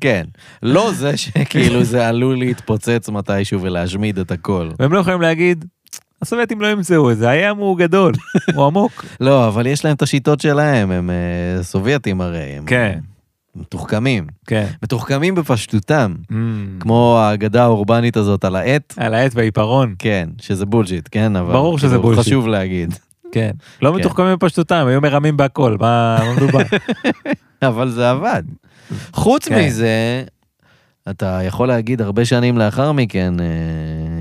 Speaker 1: כן. לא זה שכאילו זה עלול להתפוצץ מתישהו ולהשמיד את הכל.
Speaker 2: והם לא יכולים להגיד, הסובייטים לא ימצאו את זה, הים הוא גדול, הוא עמוק.
Speaker 1: לא, אבל יש להם את השיטות שלהם, הם אה, סובייטים הרי, הם
Speaker 2: כן,
Speaker 1: מתוחכמים.
Speaker 2: כן.
Speaker 1: מתוחכמים בפשטותם,
Speaker 2: אמ,
Speaker 1: כמו האגדה האורבנית הזאת על העט.
Speaker 2: על העט והעיפרון,
Speaker 1: כן, שזה בולשיט, כן, אבל...
Speaker 2: ברור שזה
Speaker 1: כאילו,
Speaker 2: בולשיט.
Speaker 1: חשוב להגיד.
Speaker 2: כן. לא
Speaker 1: כן.
Speaker 2: מתוחכמים בפשטותם, היו מרמים בהכל, מה מה מדובר?
Speaker 1: אבל זה עבד. חוץ
Speaker 2: כן.
Speaker 1: מזה, אתה יכול להגיד הרבה שנים לאחר מכן, אה,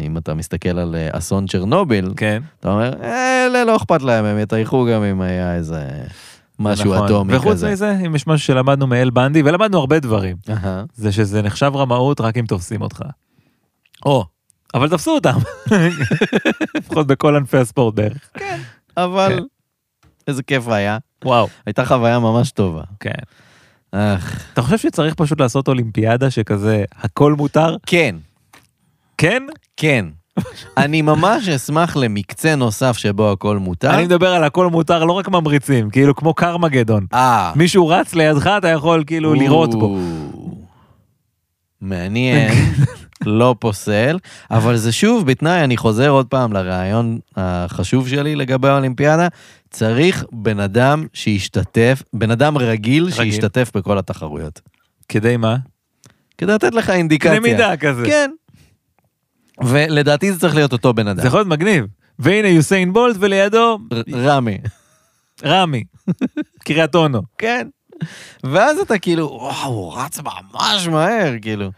Speaker 1: אם אתה מסתכל על אה, אסון צ'רנוביל,
Speaker 2: כן.
Speaker 1: אתה אומר, "אה, אלה לא אכפת להם, הם יטייחו גם אם היה איזה משהו
Speaker 2: נכון.
Speaker 1: אטומי
Speaker 2: וחוץ
Speaker 1: כזה.
Speaker 2: מזה, אם יש משהו שלמדנו מאל בנדי, ולמדנו הרבה דברים,
Speaker 1: אהה.
Speaker 2: זה שזה נחשב רמאות רק אם תופסים אותך.
Speaker 1: או,
Speaker 2: אבל תפסו אותם. לפחות בכל ענפי הספורט בערך. כן.
Speaker 1: אבל איזה כיף היה.
Speaker 2: וואו.
Speaker 1: הייתה חוויה ממש טובה.
Speaker 2: כן.
Speaker 1: אך,
Speaker 2: אתה חושב שצריך פשוט לעשות אולימפיאדה שכזה הכל מותר?
Speaker 1: כן,
Speaker 2: כן?
Speaker 1: כן. אני ממש אשמח למקצה נוסף שבו הכל מותר.
Speaker 2: אני מדבר על הכל מותר, לא רק ממריצים, כאילו כמו קרמגדון.
Speaker 1: אה.
Speaker 2: מישהו רץ לידך, אתה יכול כאילו לירות בו.
Speaker 1: או, מעניין, לא פוסל, אבל זה שוב בתנאי, אני חוזר עוד פעם לרעיון החשוב שלי לגבי האולימפיאדה, צריך בן אדם שישתתף, בן אדם רגיל שישתתף בכל התחרויות.
Speaker 2: כדי מה?
Speaker 1: כדי לתת לך אינדיקציה.
Speaker 2: קנה מידה כזה.
Speaker 1: כן. ולדעתי זה צריך להיות אותו בן
Speaker 2: זה
Speaker 1: אדם.
Speaker 2: יכול להיות מגניב. והנה יוסיין בולט ולידו
Speaker 1: ר- רמי.
Speaker 2: רמי, קריית אונו.
Speaker 1: כן. ואז אתה כאילו, וואו, הוא רץ ממש מהר, כאילו.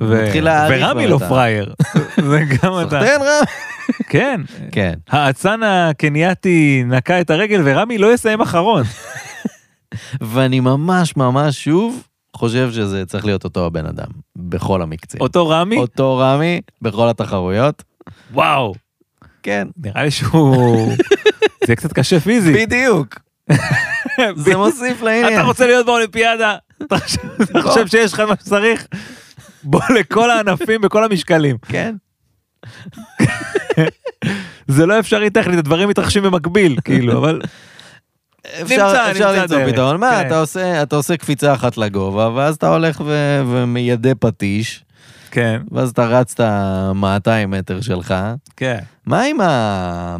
Speaker 2: ו-
Speaker 1: מתחיל להעריך
Speaker 2: ורמי
Speaker 1: בן
Speaker 2: לא
Speaker 1: אדם.
Speaker 2: פראייר. זה גם אתה.
Speaker 1: סחטיין רמי.
Speaker 2: כן.
Speaker 1: כן.
Speaker 2: האצן הקנייתי נקע את הרגל ורמי לא יסיים אחרון.
Speaker 1: ואני ממש ממש שוב חושב שזה צריך להיות אותו הבן אדם, בכל המקצים.
Speaker 2: אותו רמי,
Speaker 1: אותו רמי, בכל התחרויות.
Speaker 2: וואו.
Speaker 1: כן.
Speaker 2: נראה לי שהוא... זה קצת קשה פיזית.
Speaker 1: בדיוק. זה מוסיף לעניין.
Speaker 2: אתה רוצה להיות באולימפיאדה, אתה חושב- אתה חושב שיש לך מה שצריך? בוא לכל הענפים בכל המשקלים.
Speaker 1: כן.
Speaker 2: זה לא אפשרי טכנית, הדברים מתרחשים במקביל, כאילו, אבל...
Speaker 1: אפשר אפשר
Speaker 2: נמצא, נמצא
Speaker 1: למצוא
Speaker 2: דרך.
Speaker 1: פתרון. מה,
Speaker 2: כן.
Speaker 1: אתה עושה- אתה עושה קפיצה אחת לגובה, ואז אתה הולך ו- ומיידה פטיש,
Speaker 2: כן,
Speaker 1: ואז אתה רץ את ה-200 מטר שלך.
Speaker 2: כן.
Speaker 1: מה עם ה...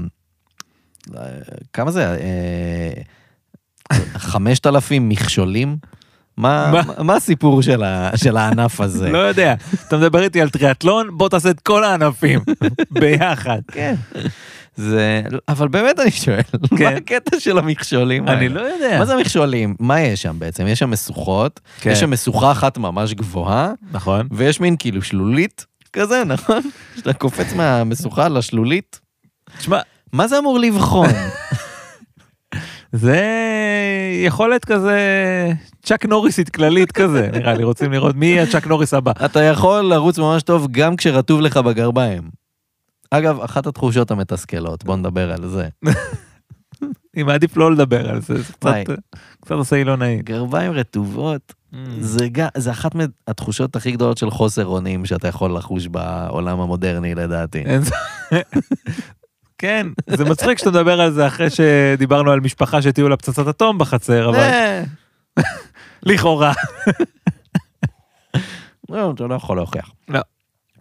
Speaker 1: כמה זה? אה, 5,000 מכשולים? מה,
Speaker 2: מה?
Speaker 1: מה הסיפור של, ה, של הענף הזה?
Speaker 2: לא יודע. אתה מדבר איתי על טריאטלון, בוא תעשה את כל הענפים ביחד.
Speaker 1: כן. זה... אבל באמת אני שואל,
Speaker 2: כן.
Speaker 1: מה הקטע של המכשולים האלה?
Speaker 2: אני לא יודע.
Speaker 1: מה זה מכשולים? מה יש שם בעצם? יש שם משוכות,
Speaker 2: כן.
Speaker 1: יש שם משוכה אחת ממש גבוהה,
Speaker 2: נכון.
Speaker 1: ויש מין כאילו שלולית כזה, נכון? שאתה קופץ מהמשוכה לשלולית.
Speaker 2: תשמע,
Speaker 1: מה זה אמור לבחון?
Speaker 2: זה יכולת כזה צ'אק נוריסית כללית כזה, נראה לי, רוצים לראות מי הצ'אק נוריס הבא.
Speaker 1: אתה יכול לרוץ ממש טוב גם כשרטוב לך בגרביים. אגב, אחת התחושות המתסכלות, בוא נדבר על זה.
Speaker 2: אני מעדיף לא לדבר על זה, זה
Speaker 1: וואי. Mm.
Speaker 2: קצת- קצת עושה לי לא נעים.
Speaker 1: גרביים רטובות,
Speaker 2: Mm.
Speaker 1: זה, גם, זה אחת מהתחושות הכי גדולות של חוסר אונים שאתה יכול לחוש בעולם המודרני לדעתי.
Speaker 2: אין זה- כן, זה מצחיק שאתה מדבר על זה אחרי שדיברנו על משפחה שהטיעו לה פצצת אטום בחצר, אבל
Speaker 1: אה,
Speaker 2: לכאורה.
Speaker 1: לא, אתה לא יכול להוכיח.
Speaker 2: לא.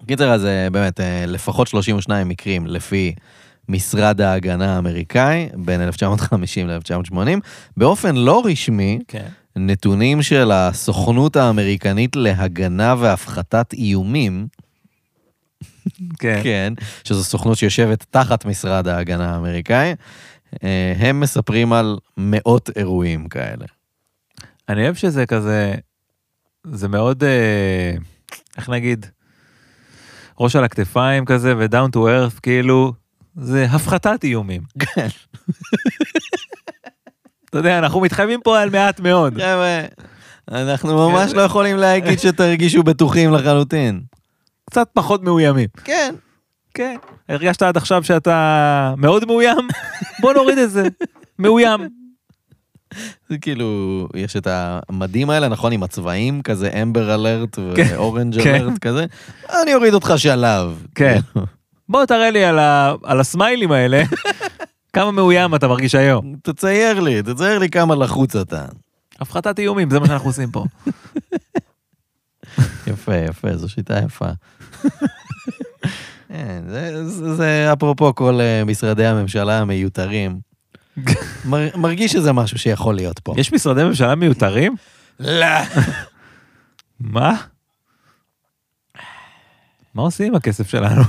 Speaker 1: בקיצר, אז אה, באמת, אה, לפחות 32 מקרים לפי משרד ההגנה האמריקאי, בין 1950 ל-1980, באופן לא רשמי,
Speaker 2: כן.
Speaker 1: נתונים של הסוכנות האמריקנית להגנה והפחתת איומים,
Speaker 2: כן.
Speaker 1: כן, שזו סוכנות שיושבת תחת משרד ההגנה האמריקאי, אה, הם מספרים על מאות אירועים כאלה.
Speaker 2: אני אוהב שזה כזה, זה מאוד, אה, איך נגיד, ראש על הכתפיים כזה ודאון טו ארף, כאילו, זה הפחתת איומים.
Speaker 1: כן.
Speaker 2: אתה יודע, אנחנו מתחייבים פה על מעט מאוד.
Speaker 1: חבר'ה, אנחנו ממש
Speaker 2: כן.
Speaker 1: לא יכולים להגיד שתרגישו בטוחים לחלוטין.
Speaker 2: קצת פחות מאוימים.
Speaker 1: כן.
Speaker 2: כן. הרגשת עד עכשיו שאתה מאוד מאוים? בוא נוריד את זה. מאוים.
Speaker 1: זה כאילו, יש את המדים האלה, נכון? עם הצבעים, כזה אמבר אלרט
Speaker 2: כן.
Speaker 1: ואורנג'
Speaker 2: כן.
Speaker 1: אלרט כזה. אני אוריד אותך שלב.
Speaker 2: כן. בוא תראה לי על, ה... על הסמיילים האלה, כמה מאוים אתה מרגיש היום.
Speaker 1: תצייר לי, תצייר לי כמה לחוץ אתה.
Speaker 2: הפחתת איומים, זה מה שאנחנו עושים פה.
Speaker 1: יפה, יפה, זו שיטה יפה. כן, זה, זה, זה אפרופו כל אה, משרדי הממשלה המיותרים. מר, מרגיש שזה משהו שיכול להיות פה.
Speaker 2: יש משרדי ממשלה מיותרים?
Speaker 1: לא.
Speaker 2: מה? מה עושים עם הכסף שלנו?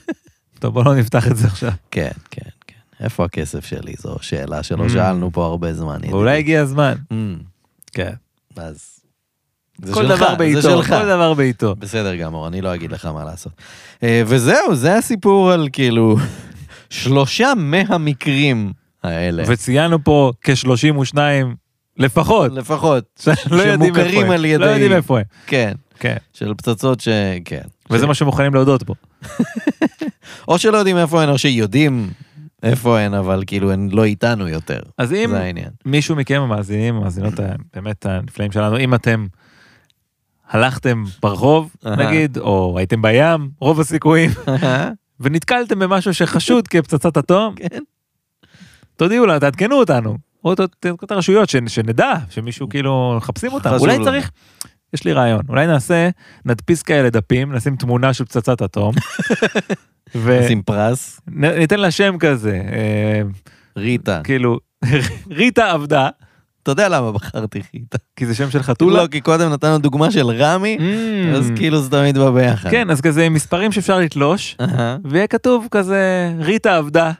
Speaker 2: טוב, בוא לא נפתח את זה עכשיו.
Speaker 1: כן, כן, כן. איפה הכסף שלי? זו שאלה שלא
Speaker 2: Mm.
Speaker 1: שאלנו פה הרבה זמן. ידידי.
Speaker 2: ואולי הגיע הזמן.
Speaker 1: Mm,
Speaker 2: כן.
Speaker 1: אז... זה
Speaker 2: כל
Speaker 1: שלך,
Speaker 2: דבר בעיתו,
Speaker 1: זה שלך.
Speaker 2: כל דבר בעיתו.
Speaker 1: בסדר גמור, אני לא אגיד לך מה לעשות. אה, וזהו, זה הסיפור על כאילו שלושה מהמקרים האלה.
Speaker 2: וציינו פה כ-32 לפחות,
Speaker 1: לפחות.
Speaker 2: שלא יודעים
Speaker 1: שמוכרים
Speaker 2: איפה
Speaker 1: על
Speaker 2: הם.
Speaker 1: ידי-
Speaker 2: לא יודעים איפה הם.
Speaker 1: כן.
Speaker 2: כן.
Speaker 1: של פצצות ש... כן.
Speaker 2: אוקיי. וזה מה שמוכנים להודות בו.
Speaker 1: או שלא יודעים איפה הן, או שיודעים איפה הן, אבל כאילו הן לא איתנו יותר.
Speaker 2: אז אם
Speaker 1: זה העניין.
Speaker 2: מישהו מכם המאזינים, המאזינות, ה- באמת אה, הנפלאים שלנו, אם אתם הלכתם ברחוב,
Speaker 1: אהה.
Speaker 2: נגיד, או הייתם בים, רוב הסיכויים, אה? ונתקלתם במשהו שחשוד כפצצת אטום,
Speaker 1: כן.
Speaker 2: תודיעו לה, תעדכנו אותנו. או ת- תעדכנו את הרשויות, שנ- שנדע, שמישהו כאילו מחפשים אותם.
Speaker 1: חשוב
Speaker 2: אולי
Speaker 1: לנו.
Speaker 2: צריך, יש לי רעיון, אולי נעשה, נדפיס כאלה דפים, נשים תמונה של פצצת אטום, אה.
Speaker 1: נשים פרס,
Speaker 2: וניתן לה שם כזה, אה,
Speaker 1: ריטה.
Speaker 2: כאילו, ריטה עבדה,
Speaker 1: אתה יודע למה בחרתי חיטה.
Speaker 2: כי זה שם של חתולה.
Speaker 1: לא, כי קודם נתנו דוגמה של רמי,
Speaker 2: Mm.
Speaker 1: אז כאילו זה תמיד בא ביחד.
Speaker 2: כן, אז כזה עם מספרים שאפשר לתלוש,
Speaker 1: אהה,
Speaker 2: ויהיה כתוב כזה, ריטה עבדה.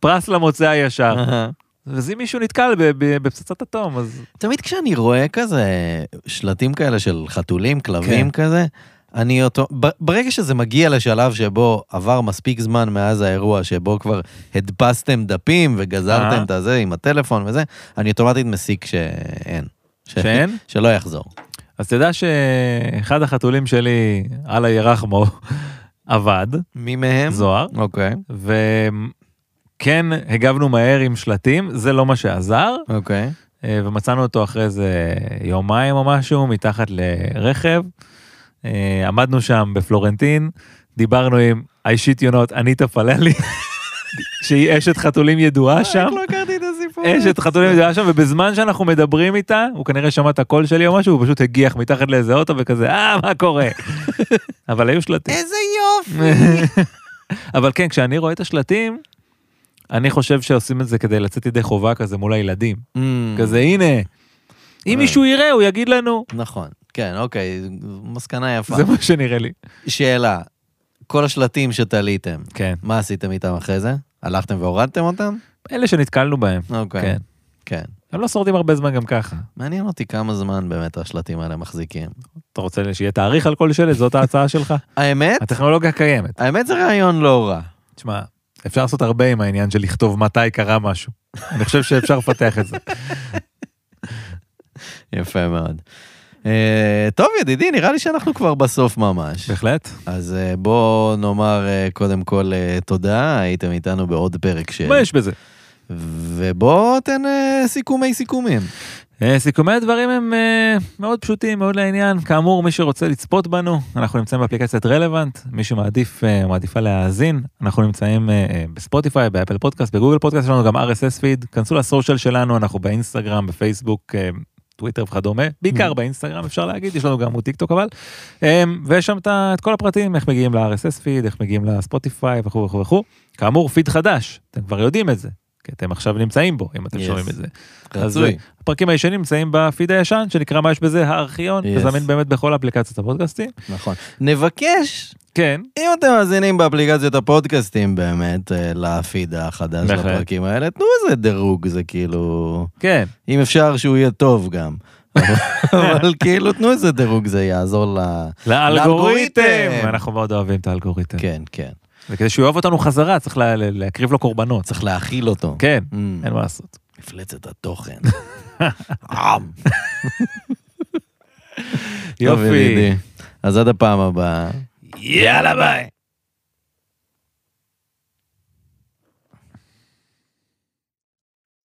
Speaker 2: פרס למוצא הישר.
Speaker 1: אהה.
Speaker 2: אז אם מישהו נתקל ב- ב- בפצצת אטום, אז...
Speaker 1: תמיד כשאני רואה כזה שלטים כאלה של חתולים, כלבים
Speaker 2: כן.
Speaker 1: כזה, אני אותו... ב- ברגע שזה מגיע לשלב שבו עבר מספיק זמן מאז האירוע, שבו כבר הדפסתם דפים
Speaker 2: אה.
Speaker 1: וגזרתם את הזה עם הטלפון וזה, אני אוטומטית מסיק שאין. ש-
Speaker 2: שאין?
Speaker 1: שלא יחזור.
Speaker 2: כן. אז תדע שאחד החתולים שלי, אללה ירחמו, עבד,
Speaker 1: מי מהם?
Speaker 2: זוהר,
Speaker 1: אוקיי,
Speaker 2: וכן כן הגבנו מהר עם שלטים, זה לא מה שעזר,
Speaker 1: אוקיי.
Speaker 2: אה, ומצאנו אותו אחרי איזה יומיים או משהו, מתחת לרכב. אה, עמדנו שם בפלורנטין, דיברנו עם האישית יונות, אניטה פללי, שהיא אשת חתולים ידועה שם.
Speaker 1: לא הכרתי את הסיפור.
Speaker 2: אשת חתולים ידועה שם, ובזמן שאנחנו מדברים איתה, הוא כנראה שמע את הקול שלי או משהו, הוא פשוט הגיח מתחת לאיזה אוטו וכזה, אה, מה קורה? אבל היו שלטים.
Speaker 1: איזה יופי.
Speaker 2: אבל כן, כשאני רואה את השלטים, אני חושב שעושים את זה כדי לצאת ידי חובה כזה מול הילדים.
Speaker 1: Mm,
Speaker 2: כזה הנה, אם מישהו יראה הוא יגיד לנו,
Speaker 1: נכון, כן, אוקיי, זו מסקנה יפה.
Speaker 2: זה מה שנראה לי.
Speaker 1: שאלה, כל השלטים שתליתם,
Speaker 2: כן.
Speaker 1: מה עשיתם איתם אחרי זה? הלכתם והורדתם אותם?
Speaker 2: אלה שנתקלנו בהם,
Speaker 1: אוקיי.
Speaker 2: כן.
Speaker 1: כן.
Speaker 2: הם לא שורדים הרבה זמן גם ככה.
Speaker 1: מעניין אותי כמה זמן באמת השלטים האלה מחזיקים.
Speaker 2: אתה רוצה שיהיה תאריך על כל שלט, זאת ההצעה שלך?
Speaker 1: האמת?
Speaker 2: הטכנולוגיה קיימת.
Speaker 1: האמת זה רעיון לא רע.
Speaker 2: תשמע, אפשר לעשות הרבה עם העניין של לכתוב מתי קרה משהו. אני חושב שאפשר לפתח את זה.
Speaker 1: יפה מאוד. אה, טוב, ידידי, נראה לי שאנחנו כבר בסוף ממש.
Speaker 2: בהחלט.
Speaker 1: אז אה, בוא נאמר אה, קודם כל אה, תודה, הייתם איתנו בעוד פרק של...
Speaker 2: מה יש בזה?
Speaker 1: ובוא תן אה, סיכומי סיכומים.
Speaker 2: אה, סיכומי הדברים הם אה, מאוד פשוטים, מאוד לעניין. כאמור, מי שרוצה לצפות בנו, אנחנו נמצאים באפליקציית רלוונט. מי שמעדיף, אה, מעדיפה להאזין, אנחנו נמצאים אה, אה, בספוטיפיי, באפל פודקאסט, בגוגל פודקאסט שלנו, גם RSS פיד. כנסו לסושיאל שלנו, אנחנו באינסטגרם, בפייסבוק, אה, טוויטר וכדומה. בעיקר באינסטגרם, אפשר להגיד, יש לנו גם עמוד טיקטוק אבל. אה, ויש שם את ה- את כל הפרטים, איך מגיעים ל-RSS פיד, איך מגיעים לספוטיפיי וכו' וכו' וכו'. כאמור, פיד חדש, אתם כבר יודעים את זה, כי אתם עכשיו נמצאים בו, אם אתם
Speaker 1: Yes.
Speaker 2: שומעים את זה. אז,
Speaker 1: רצוי.
Speaker 2: הפרקים הישנים נמצאים בפיד הישן שנקרא מה יש בזה הארכיון
Speaker 1: Yes.
Speaker 2: yes. וזמין באמת בכל אפליקציות הפודקאסטים.
Speaker 1: נכון. נבקש
Speaker 2: כן.
Speaker 1: אם אתם מאזינים באפליקציות הפודקאסטים באמת אה, לפיד החדש
Speaker 2: בהחלט.
Speaker 1: לפרקים האלה, תנו איזה דירוג, זה כאילו...
Speaker 2: כן.
Speaker 1: אם אפשר שהוא יהיה טוב גם. אבל כאילו תנו איזה דירוג, זה יעזור ל... לאלגוריתם.
Speaker 2: לאלגוריתם. אנחנו מאוד אוהבים את האלגוריתם. כן.
Speaker 1: כן, כן.
Speaker 2: וכדי שהוא יאהב אותנו חזרה צריך לה, לה, להקריב לו קורבנות.
Speaker 1: צריך להכיל אותו.
Speaker 2: כן.
Speaker 1: Mm,
Speaker 2: אין מה לעשות.
Speaker 1: מפלצת התוכן. עם. טוב,
Speaker 2: יופי.
Speaker 1: ידידי. אז עד הפעם הבאה.
Speaker 2: יאללה ביי.